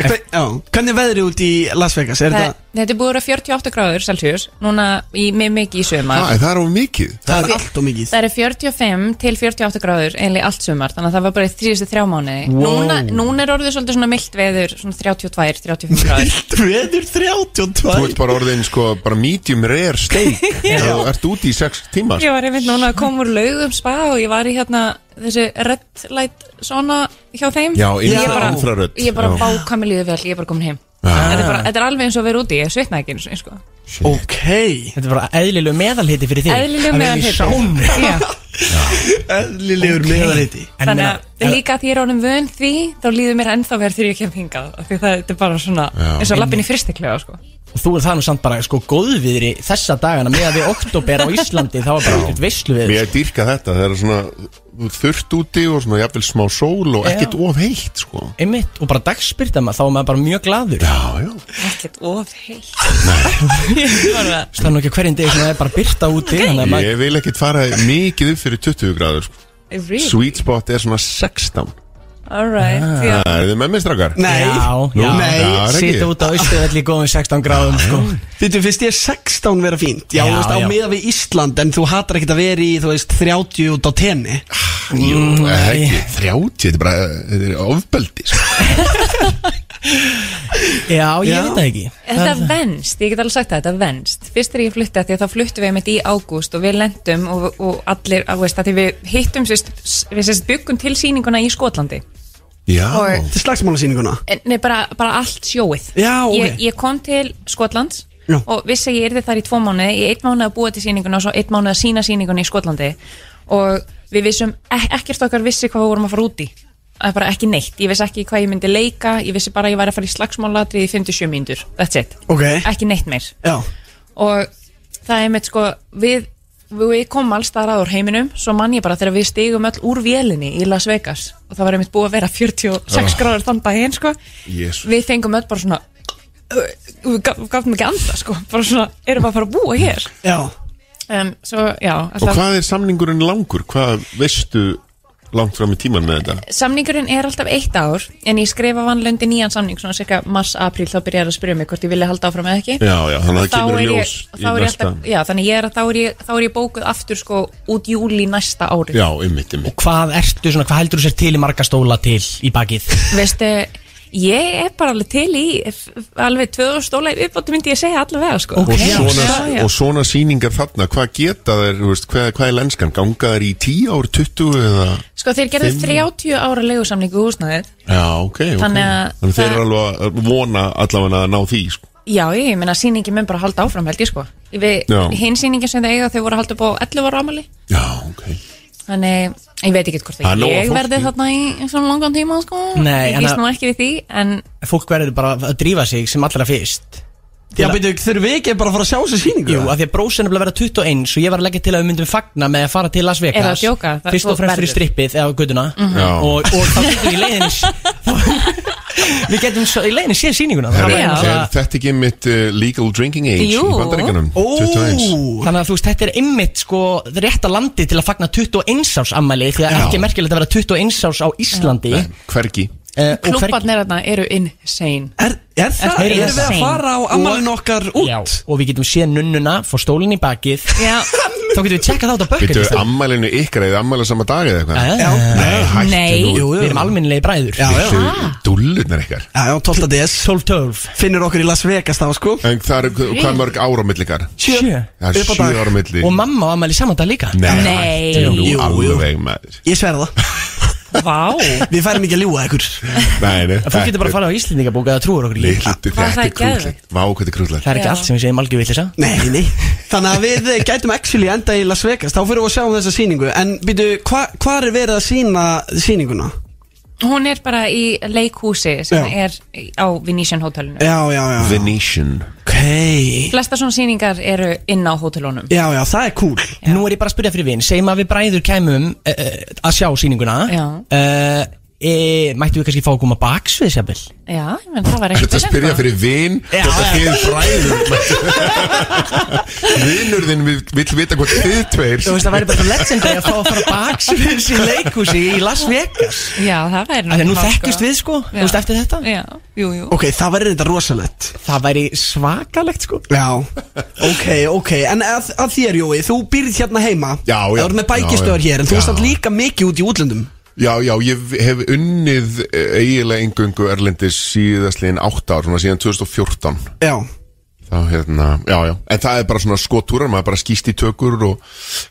Hve, Já, hvernig er veðrið út í Las Vegas? Er Það- þetta, Þetta er búið að vera 48 gráður Celsius núna í mjög mikið í sumar Það það er of mikið það er allt og mikið Það eru 45 til 48 gráður einlega allt sumar, þannig að það var bara í þrjústu þrjá mánuði núna, núna er orðið svolítið svona mildt veður svona 32, 35 gráður Veður Þú 32 ert bara orðin sko, bara medium rare *laughs* steak Þú ert úti í sex tíma *laughs* Ég var einmitt núna að koma úr laugum spa og ég var í hérna þessi red light svona hjá þeim Já, ég infra- bara, infrarödd. Ég bara Já. bákami líðu vel, ég er bara komin heim þetta, Ah. er bara, þetta er alveg eins og að vera úti, ég svitna ekki eins og sko. Ok Þetta er bara eðlilegu meðalhiti fyrir þig Að vera Eðlileg í *laughs* meðalhiti. sánu. Já. Eðlilegur okay. meðarhiti En Þannig meina, að líka að ég er orðin vön því þá líður mér ennþá verð þegar ég kem hingað af því það þetta er bara svona eins og lappin í fristiklega sko. Og þú er það nú samt bara sko góðviðri þessa dagana með að við oktober á *laughs* Íslandi þá var bara ekkert veislu við Mér dýrka þetta, það er svona þurft úti og svona jafnvel smá sól og ekkert of heitt sko einmitt og bara dagspyrta maður þá er maður bara mjög gladur Já, já, ekkert of heilt Ég bara- það er nú ekki á hverjum degi sem það er bara byrta úti þannig að maður ég vil ekkert fara mikið upp fyrir 20 gráður sko. Really? Sweet spot er svona 16 Alright ah. Það er þið með mér strákar? Nei, já, já, nei Já, er ekki? sita út á austuðvelli í góðum 16 gráðum sko Þetta finnst ég 16 vera fínt Já, Já, þú veist, á já. meða við Ísland En þú hatar ekkert að vera í, þú veist, 30 út á tenni Jú, Nei. ekki, 30, þetta er bara þetta er ofbeldi sko. já, ég Já. veit það ekki Þetta venst, ég get alveg sagt það, þetta venst Fyrst er ég flutti að því að þá fluttum við einmitt í ágúst og við lendum og, og allir, að veist, að því við hittum sérst, við sérst byggum til sýninguna í Skotlandi Já, Og- Til slagsmálasýninguna En- Eh, Nei, bara, bara allt sjóið Já, ok. ég, ég kom til Skotlands Já. og vissi að ég yrði þar í tvo mánuði Ég einn mánuð að búa til sýninguna og svo einn mánuð að sína sýninguna í Skotlandi Og við vissum, ek ekkert okkar vissi hvað við vorum að fara út í Það er bara ekki neitt, ég vissi ekki hvað ég myndi leika Ég vissi bara að ég væri að fara í slagsmálatrið í 57 mínútur That's it, Ok. ekki neitt meir Já, og það er með sko við, við komum alls þar að úr heiminum svo mann ég bara þegar við stigum öll úr vélinni í Las Vegas og það var einmitt búið að vera 46 gráður þann daginn sko Ah. Jesús. við fengum öll bara svona uh, við gaf- við gafum ekki anda sko bara svona, erum við að fara að búa hér já um, svo já, Og alltaf, hvað er samningurinn langur? Hvað veistu langt fram í tíman með þetta? samningurinn er alltaf eitt ár en ég skrifa vannlöndi nýjan samning svona cirka mars-april þá byrjar að spyrja mig hvort ég vilja halda áfram eða ekki Já, já, þannig að það Þá kemur í er ég- ljós þá í er ég næsta alltaf- já, þannig ég er að þá er ég, þá er ég bókuð aftur sko út júli næsta ári Já, ymmit, ymmit hvað ertu svona, hvað heldur þú sér til í marga stóla til í bakið Veistu, ég er bara alveg til í f- f- alveg 2000 stóla í uppáttu myndi ég segja allavega sko. Ok. Og Já, svona, já, já. og svona sýningar þarna, hvað geta þær, þú veist, hvað, hvað er lenskan? Ganga þær í 10 ár, 20 eða? Sko þeir gerðu Fimm. 30 ára leigusamningu í húsnæðið Já, ok, ok. Þannig að Þannig þeir það- eru alveg að vona allavega að ná því, sko. Já, ég meina sýningi mun bara halda áfram held ég sko Við, Já. Hinn sýningi sem það eiga þau voru að halda upp á 11 ára ámali Já, ok. Þannig, ég veit ekki hvort Það er að nóg af ég fólki. verði þarna í svona langan tíma sko Nei, Ég en gíst að- nú ekki við því En *laughs* fólk verður bara að drífa sig sem allra fyrst Já, byrju, þurfum við ekki bara að fara að sjá þessi sýningu? Jú, af því að brósin er að vera 21 og ég var að leggja til að við myndum fagna með að fara til Las Vegas Er það að djóka? Það- Fyrst þú og fremst fyrir verður. Mhm. strippið eða guttuna Já. og, og þá getum við í *laughs* leiðinni Við getum svo, í leiðinni séð sýninguna Er, Þannig Já. að- er þetta ekki mitt uh, legal drinking age Jú. í bandaríkanum? Ó, 21. Þannig að þú veist, þetta er einmitt sko rétta landi til að fagna 21 árs ammæli því Já. að ekki er merkilegt að vera 21 árs á Íslandi Nei, hvergi. eh, og hvergi- klubbarnir þarna eru insane Er, er það, Er erum við að insane. fara á amalinn okkar út? Já, og við getum séð nunnuna, fór stólinn í bakið Já, Þá getum við tjekkað það út á sko. Býttu bökkert ammælinu ykkar eða ammæla sama dag eða eitthvað? Við Nei, hættu Nei. nú. jú. erum almennilegi bræður já, já. Býttu dúllurnar ykkar. Já, já, 12. DS 12-12 Finnur okkur í Las Vegas þá, sko En það eru, hvað mörg ára millikar? Sjö. Það er Upp á sjö dag. ára milli. Og mamma á ammæli saman dag líka Nei, Nei. hættu nú Jú, jú. alveg maður. Ég sverða það Vá Við færum ekki að ljúa ykkur Nei, nei Þú getur bara að fara á Íslendingabók eða trúar okkur ekki Litlu, þetta það er er krúllegt Vá, hvað þetta er krúllegt Það er ekki Já. allt sem ég segi malgjum villisa Nei, nei Þannig að við eh, gætum actually enda í Las Vegas Þá fyrir við að sjá um þessa sýningu En býtu, hva, hvar er verið að sýna sýninguna? Hún er bara í leikhúsi sem Já. er á Venetian Eh. hótelinu Já, já, já Venetian Ok Flesta svona sýningar eru inn á hótelunum Já, já, það er cool Já. Nú er ég bara að spyrja fyrir vin Segjum að við bræður kæmum uh, að sjá sýninguna Já. uh, e, Mættu við kannski fá að koma baksvið sjabil Já, ég menn það var Þetta ekkert Eh. að spyrja fyrir vin Já, Þetta já. þið bræður *laughs* Vinur þinn vill vill vita hvað þið tveir Þú veist það væri bara svo legendary að fá að fara baksvið í leikhúsi í Las Vegas Já, það væri Þannig að nú mál, sko. þekkjust við sko Þú veist eftir þetta Já, jú, jú Ok, það verður þetta rosalett Það væri svakalegt sko Já, ok, ok En að, að þér, Jói, þú býrð hérna heima Já, já. Það er með bækistöðar Já, já. hér En þú Já. ert samt líka mikið út í útlöndum Já, já, ég hef unnið eh, eiginlega engungu Erlendis síðastliðin 8 ár, svona síðan 2014 Já Þá hérna, já, já En það er bara svona skotúrar, maður bara skýst í tökur og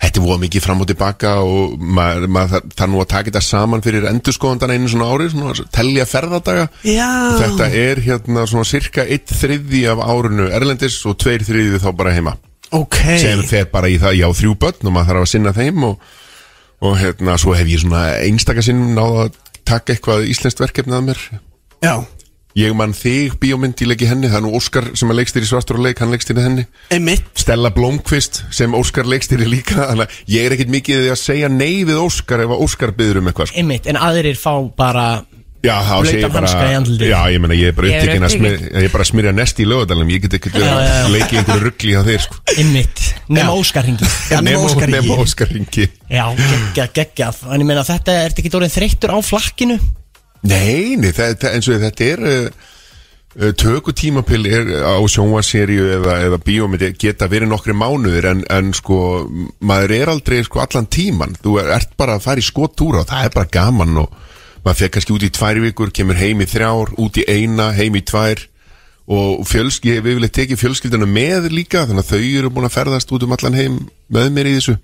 þetta er voða mikið fram og tilbaka og maður, maður þarf- þarf nú að taka þetta saman fyrir endurskoðandana einu svona ári svona, telja ferðardaga Já. Og Þetta er hérna svona cirka 1 þriði af árinu Erlendis og 2 þriði þá bara heima Ok sem fer bara í það, já, þrjú börn og maður þarf að sinna þeim og, og hérna, svo hef ég svona einstaka sinnum náða að taka eitthvað íslenskt verkefni að mér Já Ég man þig bíómynd, ég legg í henni, það er nú Óskar sem er leikstir í svartur og leik, hann leikstir í henni Einmitt Stella Blomqvist sem Óskar leikstir í líka, þannig að ég er ekkit mikið í því að segja nei við Óskar ef að Óskar byður um eitthvað sko. Einmitt, en aðrir fá bara Já, þá Blautan segir ég bara hanska í andlitið. Já, ég meina, ég er bara Ég er upptekinn að upptekin. smyrja Ég er bara að smyrja nesti í lögadalum, ég get ekkit verið Já, já, já. að leiki einhverju ruggli hjá þeir sko. Einmitt, nema Óskar hringi *laughs* Já, nema Óskar hringi. nema Óskar ringi Já, geggjað, geggjað En ég meina þetta, ertu ekki dórið þreyttur á flakkinu? Nei, nei það, það, eins og þetta er uh, uh, tökutímapil er eh, á sjónvaseríu eða, eða bíómyndi geta verið nokkri mánuðir en, en sko m- maður er aldrei sko allan tíman þú er, ert bara að fara í skotúra og það er bara gaman og maður fekk kannski út í tvær vikur kemur heim í þrjár, út í eina heim í tvær og fjölsk, ég hef yfirleitt tekið fjölskylduna með líka þannig að þau eru búin að ferðast út um allan heim með mér í þessu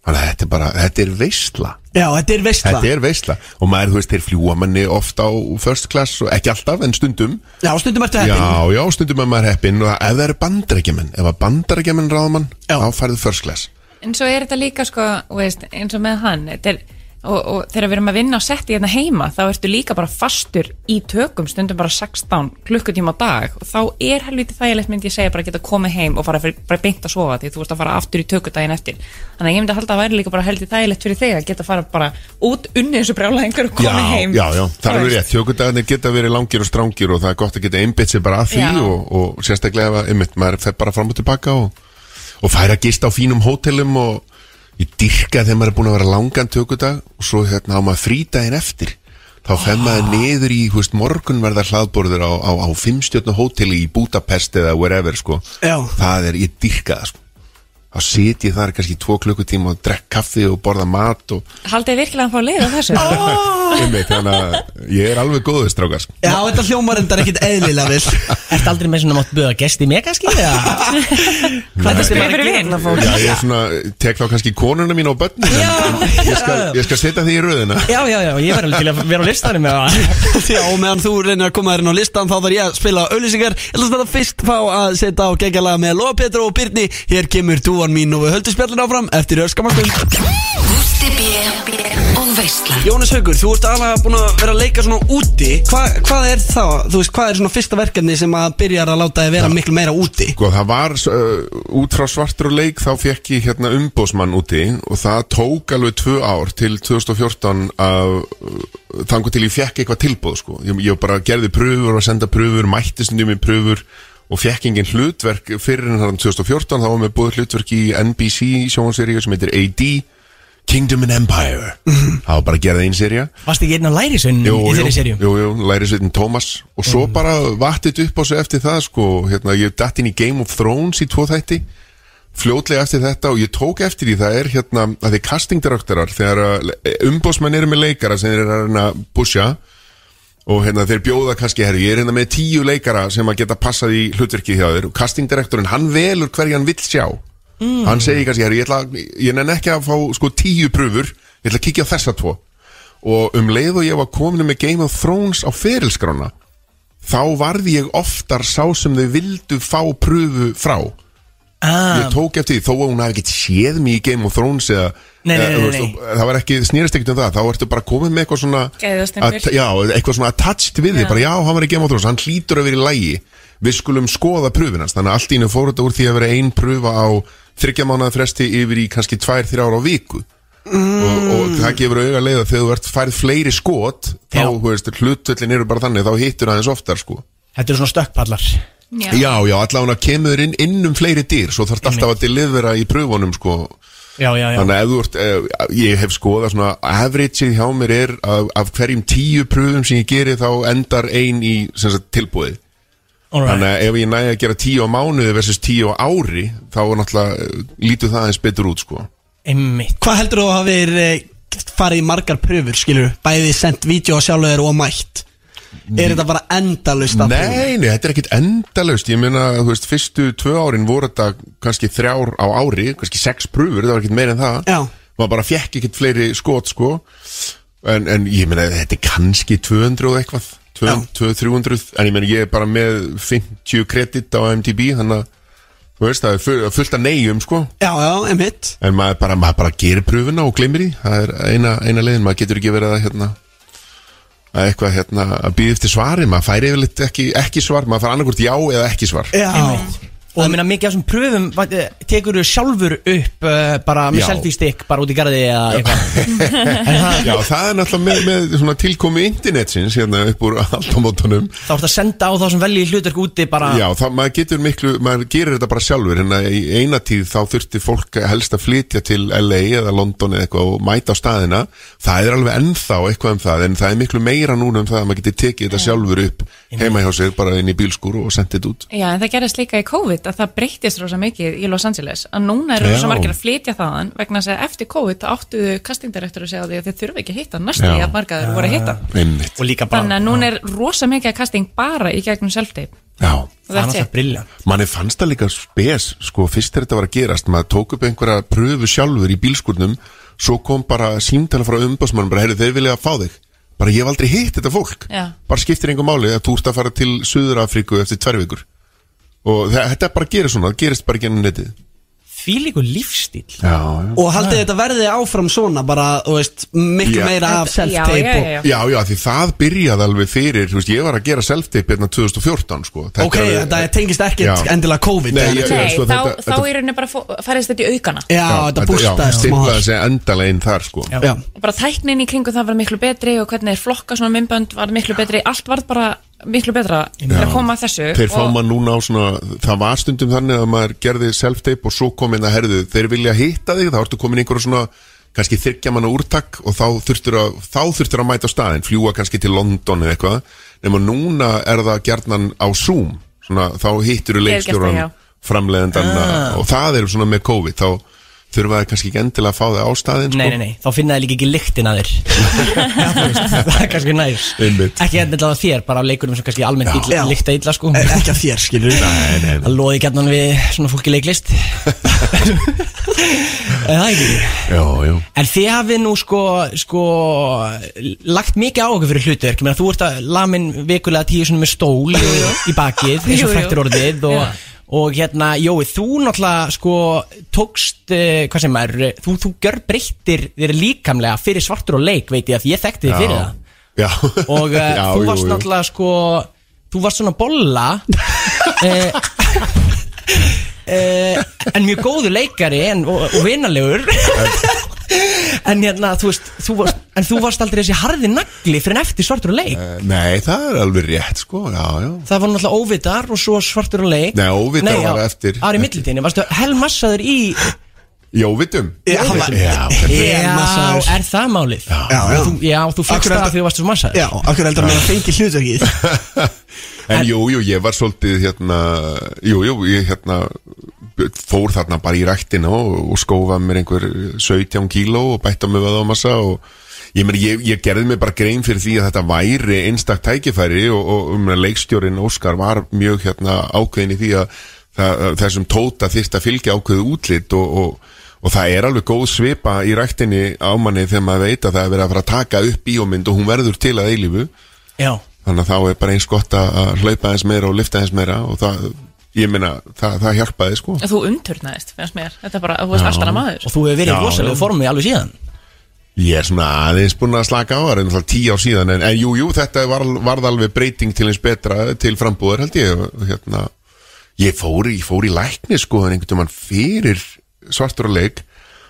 þannig að þetta er bara, þetta er veistla Já, þetta er veistla Þetta er veisla og maður, þú veist, þeir fljúa manni oft á first class og ekki alltaf en stundum Já, stundum ertu heppin Já, já, stundum er maður heppinn og ef það eru bandarækjumenn, ef að bandarækjumenn ráða mann, Já. þá færðu first class En svo er þetta líka sko, þú veist, eins og með hann þetta er, og, og þegar við erum að vinna á setti hérna heima, þá ertu líka bara fastur í tökum, stundum bara 16 klukkutíma á dag og þá er helviti þægilegt myndi ég segja bara að geta komið heim og fara fyrir, bara beint að sofa því þú ert að fara aftur í tökudaginn eftir þannig að ég myndi að halda að væri líka bara helviti þægilegt fyrir þig að geta fara bara út unni þessu brjála og Já, komið heim já, já, það Þú er veist. rétt, tjókudagarnir geta verið langir og strangir og það er gott að geta einbytt sér bara að því Já. og, og sérstaklega ef að, einmitt, maður fer bara fram og tilbaka og, og fær að gista á fínum hótelum og ég dyrka þegar maður er búin að vera langan tjókudag og svo hérna á maður frídaginn eftir þá Ah. fer maður niður í, hú veist, morgunverðar hlaðborður á, á, á fimmstjörnu hóteli í Budapest eða wherever, sko Já. það er, ég dyrka það, sko þá sit ég þar kannski tvo klukkutíma og drekk kaffi og borða mat og Haldið þið virkilega að fá leið á þessu? einmitt, þannig að ég er alveg góður strákar sko. Já, þetta hljómar endar ekkit eðlilega vel Ertu aldrei með svona mátt böða gesti í mig kannski? *laughs* eða? Hvað Skrifa fyrir vin. Já, ég er svona, tek þá kannski konuna mín og börnin en ég skal, ég skal setja því í röðina Já, já, já, ég var alveg til að vera á listanum með það Já, og meðan þú reynir að koma þér inn á listan þá þarf ég að spila auðlýsingar Ég ætla að fyrst fá að setja á geggjalaga með Lóa Petra og Byrni Hér kemur dúan mín og við höldum spjallin áfram eftir öskamastund Gústi B og Veistland Jónas Haugur, þú ert alveg búin að vera að leika svona úti Hva, Hvað er það, þú veist, hvað er svona fyrsta verkefni sem að byrjar að láta þið vera miklu meira úti? Sko, það var uh, út frá svartur og leik þá fekk ég hérna umbósmann úti og það tók alveg tvö ár til 2014 að uh, þangu til ég fekk eitthvað tilbúð sko. ég, ég bara gerði pröfur og senda pröfur mætti stundum í pröfur og fekk engin hlutverk fyrir en þarna 2014 þá var mér búið hlutverk í NBC sjónseríu sem heitir AD Kingdom and Empire það var bara að gera það einn seríu Varst ekki einn á lærisveinn Mm, í þeirri Mm. serjum? Jú, jú, lærisveitin Thomas Og svo bara vattit upp á sig eftir það sko, hérna, Ég datt inn í Game of Thrones í tvo þætti Fljótlega eftir þetta Og ég tók eftir því það er hérna að Þið castingdirektorar Þegar umbósmenn eru með leikara sem þeir eru að reyna að pusha og hérna þeir bjóða kannski herri, ég er hérna með tíu leikara sem að geta passað í hlutverkið hjá þér og castingdirektorinn, hann velur hverja hann vill sjá hann segir kannski, herri, ég, ætla, ég nenn ekki að fá sko tíu pröfur, ég ætla að kíkja á þessa tvo og um leið og ég var komin með Game of Thrones á ferilskrána þá varði ég oftar sá sem þau vildu fá pröfu frá ah, ég tók eftir því þó að hún hafi ekkert séð mig í Game of Thrones eða, Nei, nei, eða, nei, þú veist, nei. þú- það var ekki, snýrist ekkert um það þá ertu bara komið með eitthvað svona Gæðastempil. att- já, eitthvað svona attached við þig bara já, hann var í Game of Thrones, hann hlýtur að vera í lægi við skulum skoða pröfinans þannig að allt í einu fór þetta úr því að vera ein pröfa á þryggja mánuða fresti yfir í kannski tvær, þrjá ára á viku og, og það gefur auga leiða þegar þú ert færð fleiri skot þá, Mm. Já. þú veist, hlutvöllin eru bara þannig þá hittur aðeins oftar, sko Þetta eru svona stökkpallar Já. *laughs* Já, já, allavega kemur inn, inn um fleiri dýr svo þarf alltaf að delivera í pröfunum sko. Já, já, já þannig að ef þú ert, eh, ég hef skoðað svona averageið hjá mér er af, af hverjum tíu pröfum sem ég geri þá endar ein í sem sagt, tilbúið Alright. þannig að ef ég næði að gera tíu á mánuði versus tíu á ári þá er náttúrulega eh, lítur það eins betur út sko. Einmitt Hvað heldur þú að hafið eh, farið í margar pröfur, skilur? Bæði sendt vídeo á sjálfur og mætt Er þetta bara endalust að Nei, nei, þetta er ekkit endalaust Ég meina, þú veist, fyrstu tvö árin voru þetta kannski þrjár á ári kannski sex pröfur, það var ekkit meir en það Já. maður bara fekk ekkit fleiri skot, sko en, en ég meina, þetta er kannski 200 og eitthvað 200, 300, en ég meina, ég er bara með 50 kredit á MTB þannig að, þú veist, það er fu- fullt að neyjum, sko Já, já, emitt en maður bara, maður bara gerir pröfuna og glemir því það er eina, eina leiðin, maður getur ekki verið að hérna að eitthvað hérna að býða eftir svari maður fær yfirleitt ekki, ekki svar maður fær annarkvort já eða ekki svar Já Og ég meina mikið af þessum pröfum va- eh, tekur þú sjálfur upp uh, bara með Já. selfie stick bara út í garði eða eitthvað já, það er náttúrulega með, með svona tilkomi internetsins hérna upp úr *laughs* aldamótanum Þá ertu að senda á þá sem velji hlutverk úti bara já, það, maður getur miklu, maður gerir þetta bara sjálfur hérna í eina tíð þá þurfti fólk helst að flytja til LA eða London eða eitthvað og mæta á staðina það er alveg ennþá eitthvað um það en það er miklu meira núna um það að maður getur tekið þetta sjálfur upp heima hjá sér bara inn í bílskúr og sendið þetta út Já, en það gerðist líka í COVID að það breyttist rosa mikið í Los Angeles að núna eru Já. rosa margir að flytja þaðan vegna þess að eftir COVID þá áttu kastingdirektur að segja á því að þið þurfa ekki að hitta næstu Já. því að margaður voru að hitta Einmitt, Og líka bara þannig að núna er rosa mikið að kasting bara í gegnum self-tape já Það og er that's náttúrulega it. brilljant Manni fannst það líka spes, sko, fyrst þegar þetta var að gerast, maður tók upp einhverja pröfu sjálfur í bílskurnum, svo kom bara símtala frá umbásmannum, bara, heyrðu, þeir vilja að fá þig. Bara, ég hef aldrei hitt þetta fólk. Já. Bara skiptir einhver máli að þú ert að fara til Suður Afríku eftir tvær vikur. Og þe- þetta bara gerir svona, það gerist bara genið netið. Því líku lífstíl Já, Og haldið þetta verði áfram svona bara, þú veist, miklu Já. meira af Já, já, já, self-tape já. Já, já, því það byrjaði alveg fyrir, þú veist, ég var að gera self-tape hérna 2014, sko. og Ok, þetta tengist ekkert Já. endilega COVID Nei, eða ég- neitt. Nei, sko, þá, þetta- þá þetta- í rauninni bara fó- færðist þetta í aukana Já, þetta bústaðist smá stiplaði hans. sig endalega inn þar, sko. Já, bara tæknin í kringu það var miklu betri og hvernig er flokka svona myndbönd var miklu betri allt var bara miklu betra til að koma að þessu Þeir fá og- maður núna á svona, það var stundum þannig að maður gerði self-tape og svo kom inn að herðu, þeir vilja hitta þig, þá ertu komin einhverja svona, kannski þyrkja manna úrtak og þá þurftur að, þá þurftur að mæta á staðin, fljúa kannski til London eða eitthvað, nema núna er það gjarnan á Zoom, svona, þá hittur þú Ég hef gert það, leikstjóran, já. framleiðendan Ah. og það er svona með COVID, þá þurfa það kannski ekki endilega að fá þig á staðin, sko. Nei, nei, nei, þá finna þið líka ekki lyktin að þér Já, þú veist, Það er kannski næs Einmitt. Ekki endilega þér, bara af leikurum sem kannski almennt Já. illa, lykta illa sko E- ekki að þér, skilur Nei, nei Það loði gætnan við svona fólki *laughs* leiklist En Það er ekki Já, já. En þið hafið nú sko, sko lagt mikið á okkur fyrir hlutverk Ég meina, Þú ert að lamin vikulega tíu svona með stól í, í bakið eins og Jú, jú. fræktir orðið og, og hérna, Jói, þú náttúrulega sko tókst, eh, hvað sem er eh, þú, þú gör breyttir þér líkamlega fyrir svartur og leik, veit ég að ég þekkti þig fyrir Já. það Já. *laughs* og uh, Já, þú jú, varst jú. náttúrulega sko þú varst svona *laughs* bolla uh, uh, en mjög góður leikari en, og, *laughs* og vinalegur en hérna þú veist þú varst, en þú varst aldrei þessi harði nagli fyrir en eftir svartur og leik Nei, það er alveg rétt, sko, já, já. það var náttúrulega óvitar og svo svartur og leik Nei, Óvitar Nei, já, var eftir- Ari eftir. millitíni, varstu helmassaður í Jóvitum. Já, E, hann var- Já, Helmassaður. er það málið? Já, já. Þú, já þú fyrst Akkur er það þetta- því þú varst svo massaður Já, akkur heldur með að fengi *laughs* hlutverkið En jú, jú, ég var svolítið hérna, jú, jú, ég hérna fór þarna bara í ræktina og, og skófaði mér einhver 17 kíló og bætti á mig veða á massa og ég, meni, ég, ég gerði mig bara grein fyrir því að þetta væri einstak tækifæri og, og um leikstjórin Óskar var mjög hérna ákveðin í því að það, þessum tóta þyrst að fylgja ákveðu útlit og, og og það er alveg góð svipa í ræktinni á manni þegar maður veit að það er verið að fara að taka upp bíómynd og hún verður til að eilífu Já, þannig að þá er bara eins gott að að hlaupa eins meira og lifta eins meira og það, ég meina, það, það hjálpaði sko Þú umturnaðist, finnst mér Þetta er bara, þú veist alltaf maður og þú hefur verið Já, í rosalegu já. formi alveg síðan Ég er svona aðeins búin að slaka á það er náttúrulega tíu ár síðan en, en jú, jú, þetta var, varð alveg breyting til eins betra til frambúðar held ég og hérna, ég fór, í- ég fór í lækni sko en einhvern veginn fyrir svartur og leik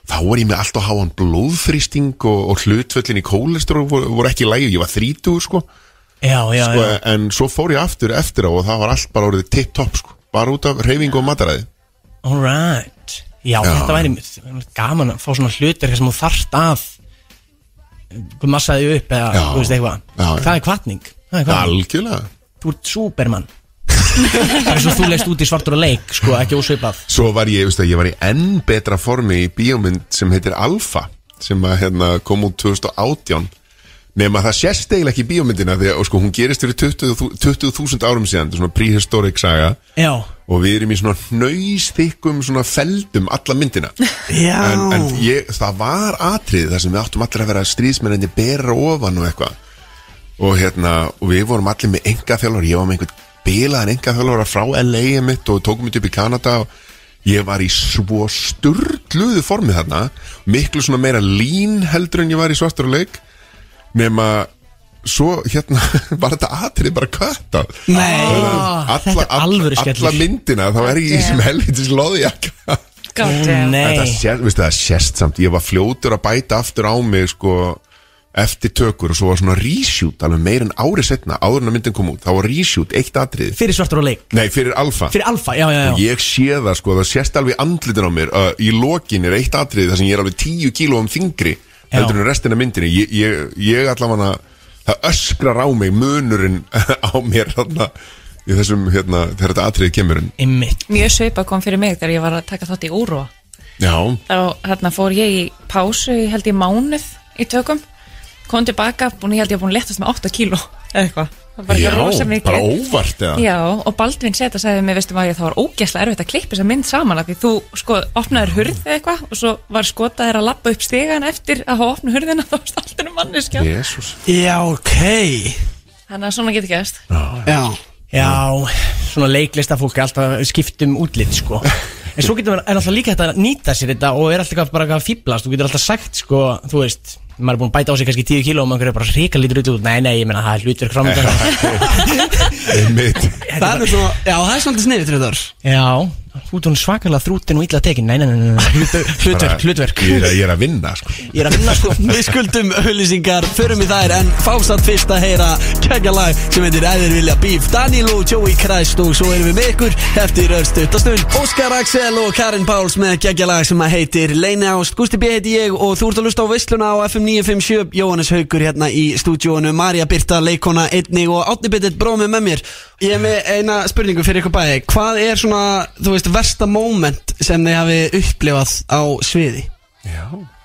þá var ég með allt á háan blóðþrýsting og, og hlutföllin í kólestur voru, voru ekki lægi, ég var þrítugur sko, Já, já, sko já en svo fór ég aftur eftir á og það var allt bara orðið tipp-topp sko, bara út af reyfingu og mataræði Alright Já, þetta væri mér gaman að fá svona hlutir sem þú þarft af hvað massaði upp eða, Já. þú veist eitthvað Já, já. Það er kvartning Það er kvartning Algjörlega Þú ert superman Það er svo þú leist út í svartur og leik sko, ekki ósveipað Svo var ég, veist að ég var í enn betra formi í bíómynd sem heitir Alfa sem að hérna kom út 2018 nema það sést eiginlega ekki í bíómyndina því að og sko, hún gerist fyrir 20 þú- 20.000 árum síðan, þetta er svona prehistoric saga Já, og við erum í svona hnausþykkum svona feldum alla myndina Já. en, en ég, það var atrið þar sem við áttum allir að vera stríðsmenninni bera ofan og eitthvað og hérna, og við vorum allir með enga þjálfur, ég var með einhvern bilaðan enga þjálfur frá LA mitt og tókum mitt upp í Kanada og ég var í svo sturgluðu formi þarna miklu svona meira lín heldur en ég var í svartur og leik nema svo hérna *laughs* var þetta atrið bara kvæta Nei. Ah, þetta er alvöru skellur. alla myndina þá er ég í þessum helvitis loðjakka God damn. þetta nei sést, veistu, það sést samt ég var fljótur að bæta aftur á mig sko, eftir tökur og svo var svona reshoot alveg meir en ári setna áður en að myndin kom út, þá var reshoot eitt atrið Fyrir svartur og leik nei, fyrir alfa Fyrir alfa, já, já, já og ég sé það sko, það sést alveg andlitin á mér uh, í lokin er eitt atrið þar sem ég er alveg tíu kílóum þingri Já. heldur en restin af myndinni ég, ég, ég allavega það öskrar á mig munurinn *laughs* á mér þarna í þessum, hérna, þegar þetta atriðið kemur en- Einmitt Mjög sveipa kom fyrir mig þegar ég var að taka þátt í úró já, þá hérna fór ég í pásu ég held ég mánuð í tökum kom tilbaka, búin, ég held ég að búin að letast með 8 kíló eða eitthvað Það var bara já, eitthvað rosa mikið. bara óvart eða Já, og Baldvin seta sagði mér, veistu maður, það var ógeðslega erfitt að klippa þessa mynd saman að því þú, sko, opnaðir hurð eða eitthvað og svo var skotaðir að lappa upp stegan eftir að hafa opnað hurðina *laughs* þá varst alltaf um manneskja. Jésús Já, ok Þannig að svona getur gæst. Ah. Já Já, svona leiklista fólk er alltaf skiptum útlit *laughs* sko En svo getur maður, er alltaf líka þetta að nýta sér þetta og er alltaf eitthvað bara að fýblast Þú getur alltaf sagt sko, þú veist maður er búin að bæta á sig kannski 10 kíló og maður er bara reyka lítur út Nei, nei, ég meina það er hlutur framöndan *laughs* Einmitt Það er nú svona, já það er svolítið sniðið til þetta Já, þú ert hún svakalega þrútin og illa tekin Nei, nei, nei, nei, nei. Hlutur, hlutverk, hlutverk Ég, ég er að vinna sko. Ég er að finna sko Við skuldum auðlýsingar, förum í þær En fáum satt fyrst að heyra kegja lag Sem heitir Æðir Vilja Bíf Danilo, Joey Christ og svo erum við með ykkur Eftir örstuttastund Óskar Axel og Karin Páls með kegja lag Sem að heitir Leina Ást Gústi B heiti ég Og þú ert að lusta á Vesluna á FM 957 Jóhannes Haugur hérna í stúdíónu Marja Birta, leikona einni og Átni Bittet brómið með mér Ég er með eina spurningu fyrir ykkur bæði Hvað er svona, þú veist, versta moment sem þið hafi upplifað á sviði?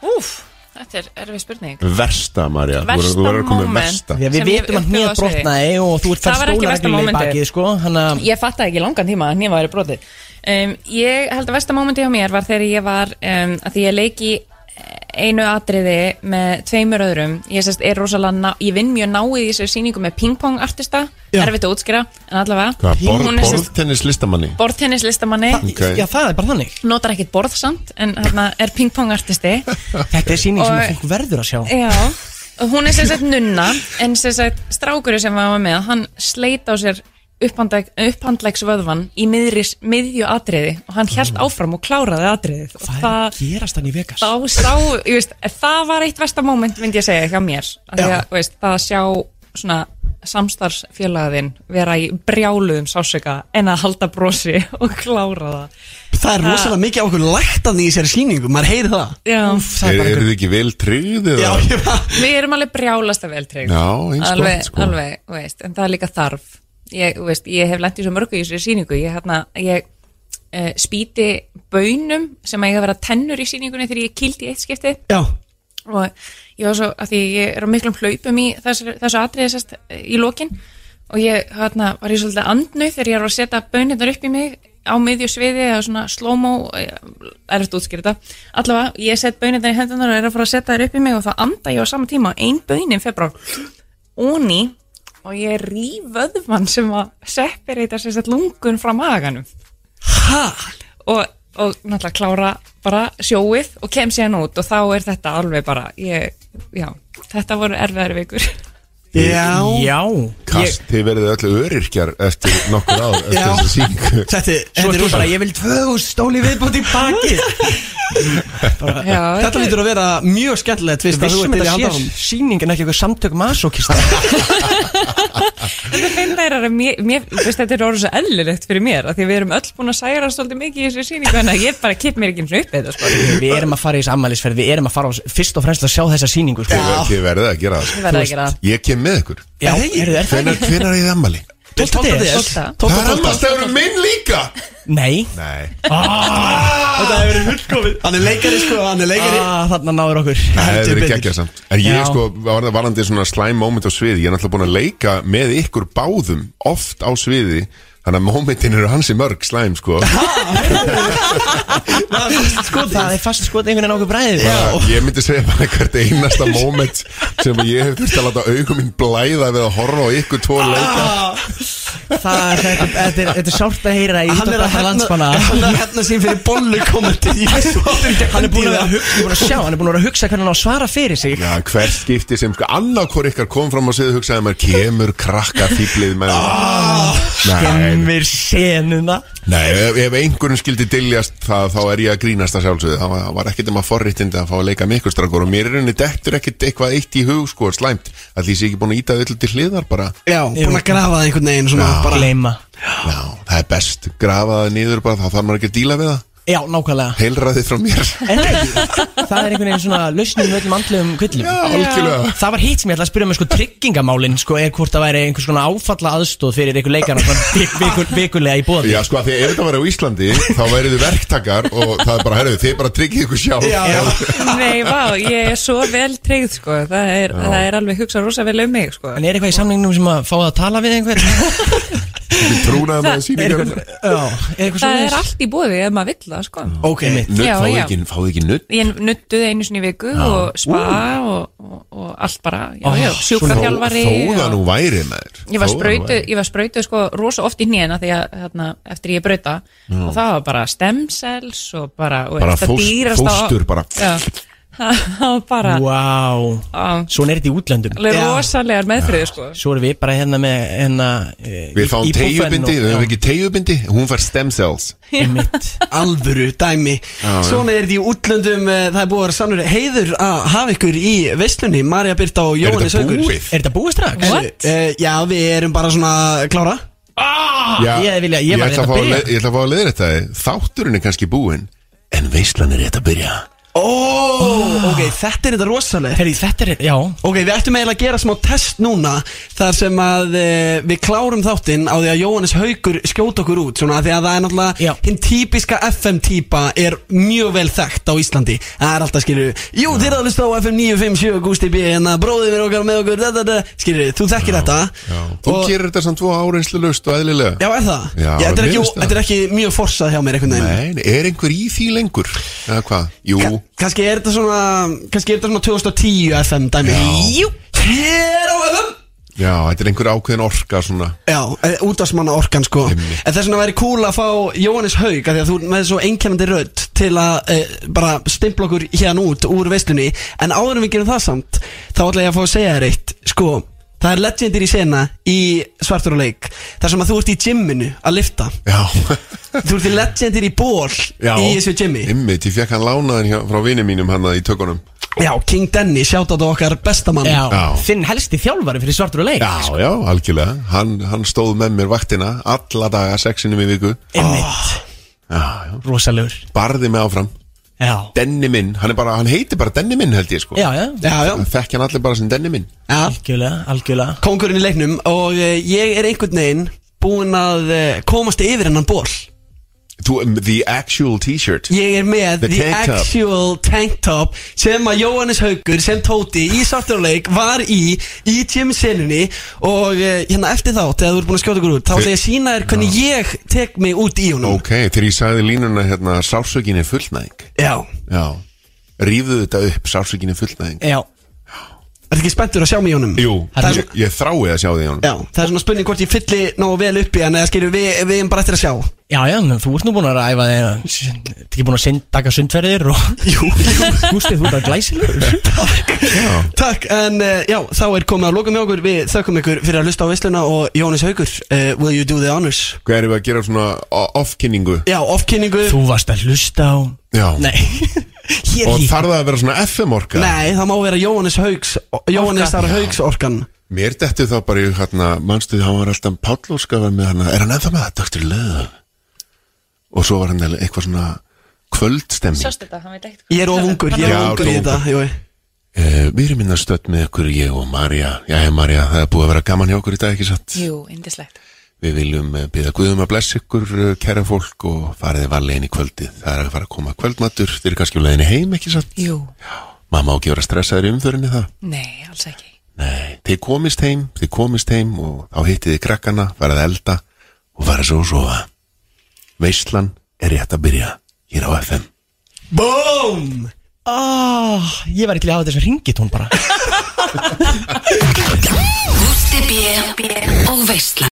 Úf, þetta er erfið spurning. Versta Marja Þú Versta verður- þú verður að koma með moment. versta Því að *laughs* Sem við ég vitum að upplifa hnið á sviði. brotnaði og þú ert Það færð var ekki skóla reglulega versta í momentið. bakið sko Þannig að Ég fattaði ekki í langan tíma að hnefa væri brotið. Um, ég held að versta mómenti hjá mér var þegar ég var, um, að því ég leiki einu atriði með tveimur öðrum ég, sest, er rosalega ná, ég vinn mjög náið í þessu sýningu með pingpong artista Já. erfitt að útskýra, en allavega Hvað, bor, Hún er sem sagt- borðtennis listamanni borðtennislistamanni Ok. Já, það er bara þannig notar ekkit borð samt en hérna er pingpongartisti Þetta er síning sem Og- fólk verður að sjá já og hún er sem sagt nunna en sem sagt strákurinn sem var með hann sleit á sér upphandleg, upphandlegsvöðvan í miðri, miðju atriði og hann held áfram og kláraði atriðið og Hvað er að það gerast hann í Vegas? þá sá, ég veist, það var eitt versta moment myndi ég segja hjá mér að því að, þú veist, það að sjá svona samstarfsfélagðin vera í brjáluðum sásöka en að halda brosi *laughs* og klára það Það er Ha. rosalega mikið af okkur læktan í þessari sýningu, maður heyri það já, Er, er þið ekki vel tryggð eða? Já, ég bara við erum alveg brjálasta veltrygg Já, eins alveg, gott, sko. alveg, þú veist, en það er líka þarf ég, þú veist, ég hef lent í svo mörgu í þessu sýningu ég, hérna, ég uh, spýti bönum sem að ég hef verið að tennur í sýningunni þegar ég kildi í eitt skipti Já, og ég var svo, að því ég er á miklum hlaupum í þessu, þessu atriði sest, í lokin og ég hérna, var ég svolítið andnuð þegar ég var að setja bönirnar upp í mig á miðju sviði eða svona slow-mo eh, er eftir útskýrta allavega, ég set bönirnar í hendunar og er að fara að setja þær upp í mig og þá anda ég á sama tíma ein bönin februar óni og ég rýf vöðvann sem að separata sér sett lungun frá maganum Ha? og, og náttúrulega klára bara sjóið og kem síðan út og þá er þetta alveg bara ég, já, þetta voru erfiðar vikur Já Já Kast, þið verðið öllu öryrkjar eftir nokkur ár eftir Já. þessa síningu Þetta er- Svo þetta er þú bara, rosa ég vil 2000 stóli viðbúti í baki já, *laughs* Þetta lítur að vera mjög skemmtilegt Vist að þú ert Vissum til í þetta handa sé sýning en ekki eitthvað samtök masokista þetta finna er að mér, mér þú veist, þetta er orðið svo eðlilegt fyrir mér af því við erum öll búin að særa svolítið mikið í þessu sýningu en ég bara kipp mér ekki eins og upp í þetta *laughs* sko. *laughs* Við erum að fara í þessu ammælisferð Við erum að fara á, fyrst og fremst að sjá þessa sýningu sko. Þið ver- Þið verðið að gera það Ég sko. verð að gera það. Ég kem með ykkur Já, Hey. eru er það Hvenær, hvenær er þið ammali? 12. des? Tólfta. 12. Það er ammastæður minn líka Nei Nei, Þetta hefur verið hullkomið Hann er leikari sko, hann er leikari ah, Þarna náður okkur það Heldur hefur verið betur. geggjað samt En ég Já. sko, var það varandi svona slæm moment á sviði Ég er náttúrulega búin að leika með ykkur báðum Oft á sviði Þannig að momentin eru hansi mörg slæm sko Það *laughs* er fast skotið Sko, Það er fast skotið einhvern veginn á okkur bræðið sko. Bara, Ég myndi segja bara hvert einasta moment Sem ég hef þurft að láta augum mín blæða Við að horfa á ykkur tvo leika Ah. Það þetta- þetta er, þetta er sárt að heyra í Hann er að útvarpi hefna, landsmanna hann er að hefna sín fyrir bollu komandi *laughs* Hann er búin að, hu- ég er búinn að sjá, hann er búin að vera að hugsa hvernig hann á að svara fyrir sig Já, hvert skipti sem sko Annarkor ykkar kom fram á sviði Hugsaði maður kemur krakka fýblið með Ah, Nei, Gemmir senuna nei ef, ef einhverjum skildi diljast það, Þá er ég að grínast að sjálfsögðu Það var, var ekkit um að forréttindi að fá að leika með ykkur strakkur Og mér er henni dettur ekkit eitthvað eitt í hug sko Slæmt, að því sé ekki búin að íta öllu til hliðar bara Já, búin að grafa það einhvern veginn svona bara Gleima Já, það er best, grafa það niður bara Þá þarf maður ekki að díla við það Já, nákvæmlega Heilræðið frá mér *laughs* En það er ekki- það er einhvern veginn svona lausnum öllum andlegum kvillum Já, algjörlega Það var hitt sem ég ætla að spyrja með sko tryggingamálin sko er hvort það væri einhvers konar áfalla aðstóð fyrir einhver leikana svona *laughs* vik- viku- vikulega í bóði Já, sko, af því að ef þetta væri á Íslandi þá værið þið verktakar og það er bara, herruðu, þið bara tryggið ykkur sjálf Já. Nei, vá, ég er svo vel treyð sko. það, er, það er alveg hugsa rosa vel um mig sko. En er eitthvað í samningnum sem að fá það að tala *laughs* við einhver? Þið trúnaði með sýningar Já, er eitthvað það er svoleiðis? allt í bóði ef maður vill það sko. Ok, Nutt, Já, fáðu já. ekki, fáðu ekki nutt ég nuttuði einu sinni í viku og spa og, og, og allt bara já, Ah, já, sjúkraþjálfari Þó það og- nú væri maður ég var Þó það nú sprautu, væri. ég var sprautu sko rosa oft í hnýðina því að hérna, eftir ég brauta og það var bara stemsels og bara, og Bara þetta fóst- dýrasta- fóstur bara. já, *laughs* það var Mm. bara Vá, á, svona er þetta í útlöndum alveg rosalegar meðfriði sko Svo erum við bara hérna með hérna eh, í- Við fáum í buffinu tegjubindi, og- við já, höfum ekki tegjubindi Hún fær stem cells einmitt. alvöru dæmi Svona er þetta í útlöndum eh, Það er búið að vera sannur heiður að hafa ykkur í veislunni Marja Birta og Er Jóhannes þetta Haugur búið? Er þetta búið strax? What? Eh, Já, við erum bara svona að klára Já, Ah! ég hefði vilja- ég var rétt ætla að að fá að byrja. leið- ég ætla að fá að leiða þetta Þátturinn er kannski búinn En veislan er rétt að byrja Ó, ok, þetta er þetta rosalega Herri, þetta er, já Ok, við ættum eiginlega að gera smá test núna Þar sem að e, við klárum þáttinn á því að Jóhannes Haugur skjóta okkur út Svona af því að það er Já. náttúrulega Hinn típiska FM-típa er mjög vel þekkt á Íslandi Það er alltaf, skilur Jú, þið er að hlusta á FM 957 Gústi B En að bróðið mér okkar með okkur da, da, da. Skilur, þú þekkir þetta Þú og, gerir þetta samt tvo áreinslu löst og eðlilega Já, er það? Já, þetta, er mér ekki, finnst það. þetta er ekki mjög forsað hjá mér einhvern veginn Nei, er einhver í því lengur? Eða hvað? Jú, Ka- Kannski er þetta svona Kannski er þetta svona 2010 FM dæmi Jú, hér á FM já, þetta er einhver ákveðin orka svona Já, útvarsmanna orkan sko Einmitt. En þess vegna væri cool að fá Jóhannes Haug af Því að þú ert með svo einkennandi rödd Til að e, bara stimpla okkur hérna út Úr veislunni En áður en við gerum það samt Þá ætla ég að fá að segja þér eitt Sko, það er legendir í sena Í svartur og leik Þar sem að þú ert í gymminu að lifta Já *laughs* Þú ert í legendir í ból Í þessu gymmi Ymmit, ég fekk hann lánaðin hjá, frá vinið mínum hann í tökunum Já, King Denny, sjátt á okkar bestamann Já. Já. Þinn helsti þjálfari fyrir svartur og leik Já, sko. já, algjörlega Hann, hann stóð með mér vaktina alla daga, sexinum í viku Ah. Einmitt, Já, já rosalegur Barði mig áfram Já Denni minn, hann er bara, hann heitir bara Denni minn held ég sko Já, já, Já, já, Það Þekki hann allir bara sem Denni minn já. algjörlega, algjörlega kongurinn í leiknum og eh, ég er einhvern veginn búinn að eh, komast yfir hennan ból Þú, um, the actual t-shirt Ég er með The the, tank top. actual tank top sem að Jóhannes Haugur sem Tóti í Svartjónuleik var í í tjömsinunni og eh, hérna eftir þá, þegar þú ert búin að skjóta ykkur út þá ætla ég að sína þér hvernig ég tek mig út í honum Ok, þegar ég sagði línuna hérna Sálsökin er fullnæðing Já, Já Rífðu þetta upp, sálsökin er fullnæðing Já, er ekki spenntur að sjá mig í honum? Jú, það er, ég, ég þrái að sjá því hún Já, það er svona spurning hvort ég fylli nógu vel upp í hann eða skilju við, við erum bara eftir að sjá já, já nú, þú ert nú búin að ræfa þig Þetta er ekki búin að sind, taka sundferðir og *laughs* Jú, gústið, þú ert að glæsilegur *laughs* Takk, en uh, já, þá er komið að lokum hjá okkur Við þökkum ykkur fyrir að hlusta á veisluna og Jóhannes Haugur, uh, will you do the honors? Hvað erum við að gera svona o- offkynningu? Já, ofkynningu Þú varst að hlusta á Já Nei, hér Og í þarf það að vera svona FM orka? Nei, það má vera Jóhannes Haugs Jóhannes þar Haugs orkan Mér dettu þá bara í hérna Manstu því hann var alltaf Páll Óskar var með hann Er hann ennþá með það? Dr. Love Og svo var hann eitthvað svona Kvöldstemming Sjást þetta, hann veit ekkert Ég er of ungur, ég er Já, of ungur í þú þetta ungur. jú. uh, Við erum minna stödd með ykkur Ég og Marja Jæja Marja, það er búið að vera gaman hjá okkur í dag ekki satt Jú, indislegt Við viljum eh, byrja Guðum að blessa ykkur eh, kæra fólk og fariði varlegin í kvöldið. Það er að fara að koma kvöldmatur, þeir eru kannski um leiðinni heim, ekki satt? Jú, Mamma á ekki að vera stressaður í umförinni það. nei, alls ekki Nei, þið komist heim, þið komist heim og þá hittið þið krakkana, farið að elda og farið svo að sofa. Veislan er rétt að byrja hér á FM. Boom! Ah, Ég var ekki að hafa þess að ringið hún bara Gústi B. og Veislan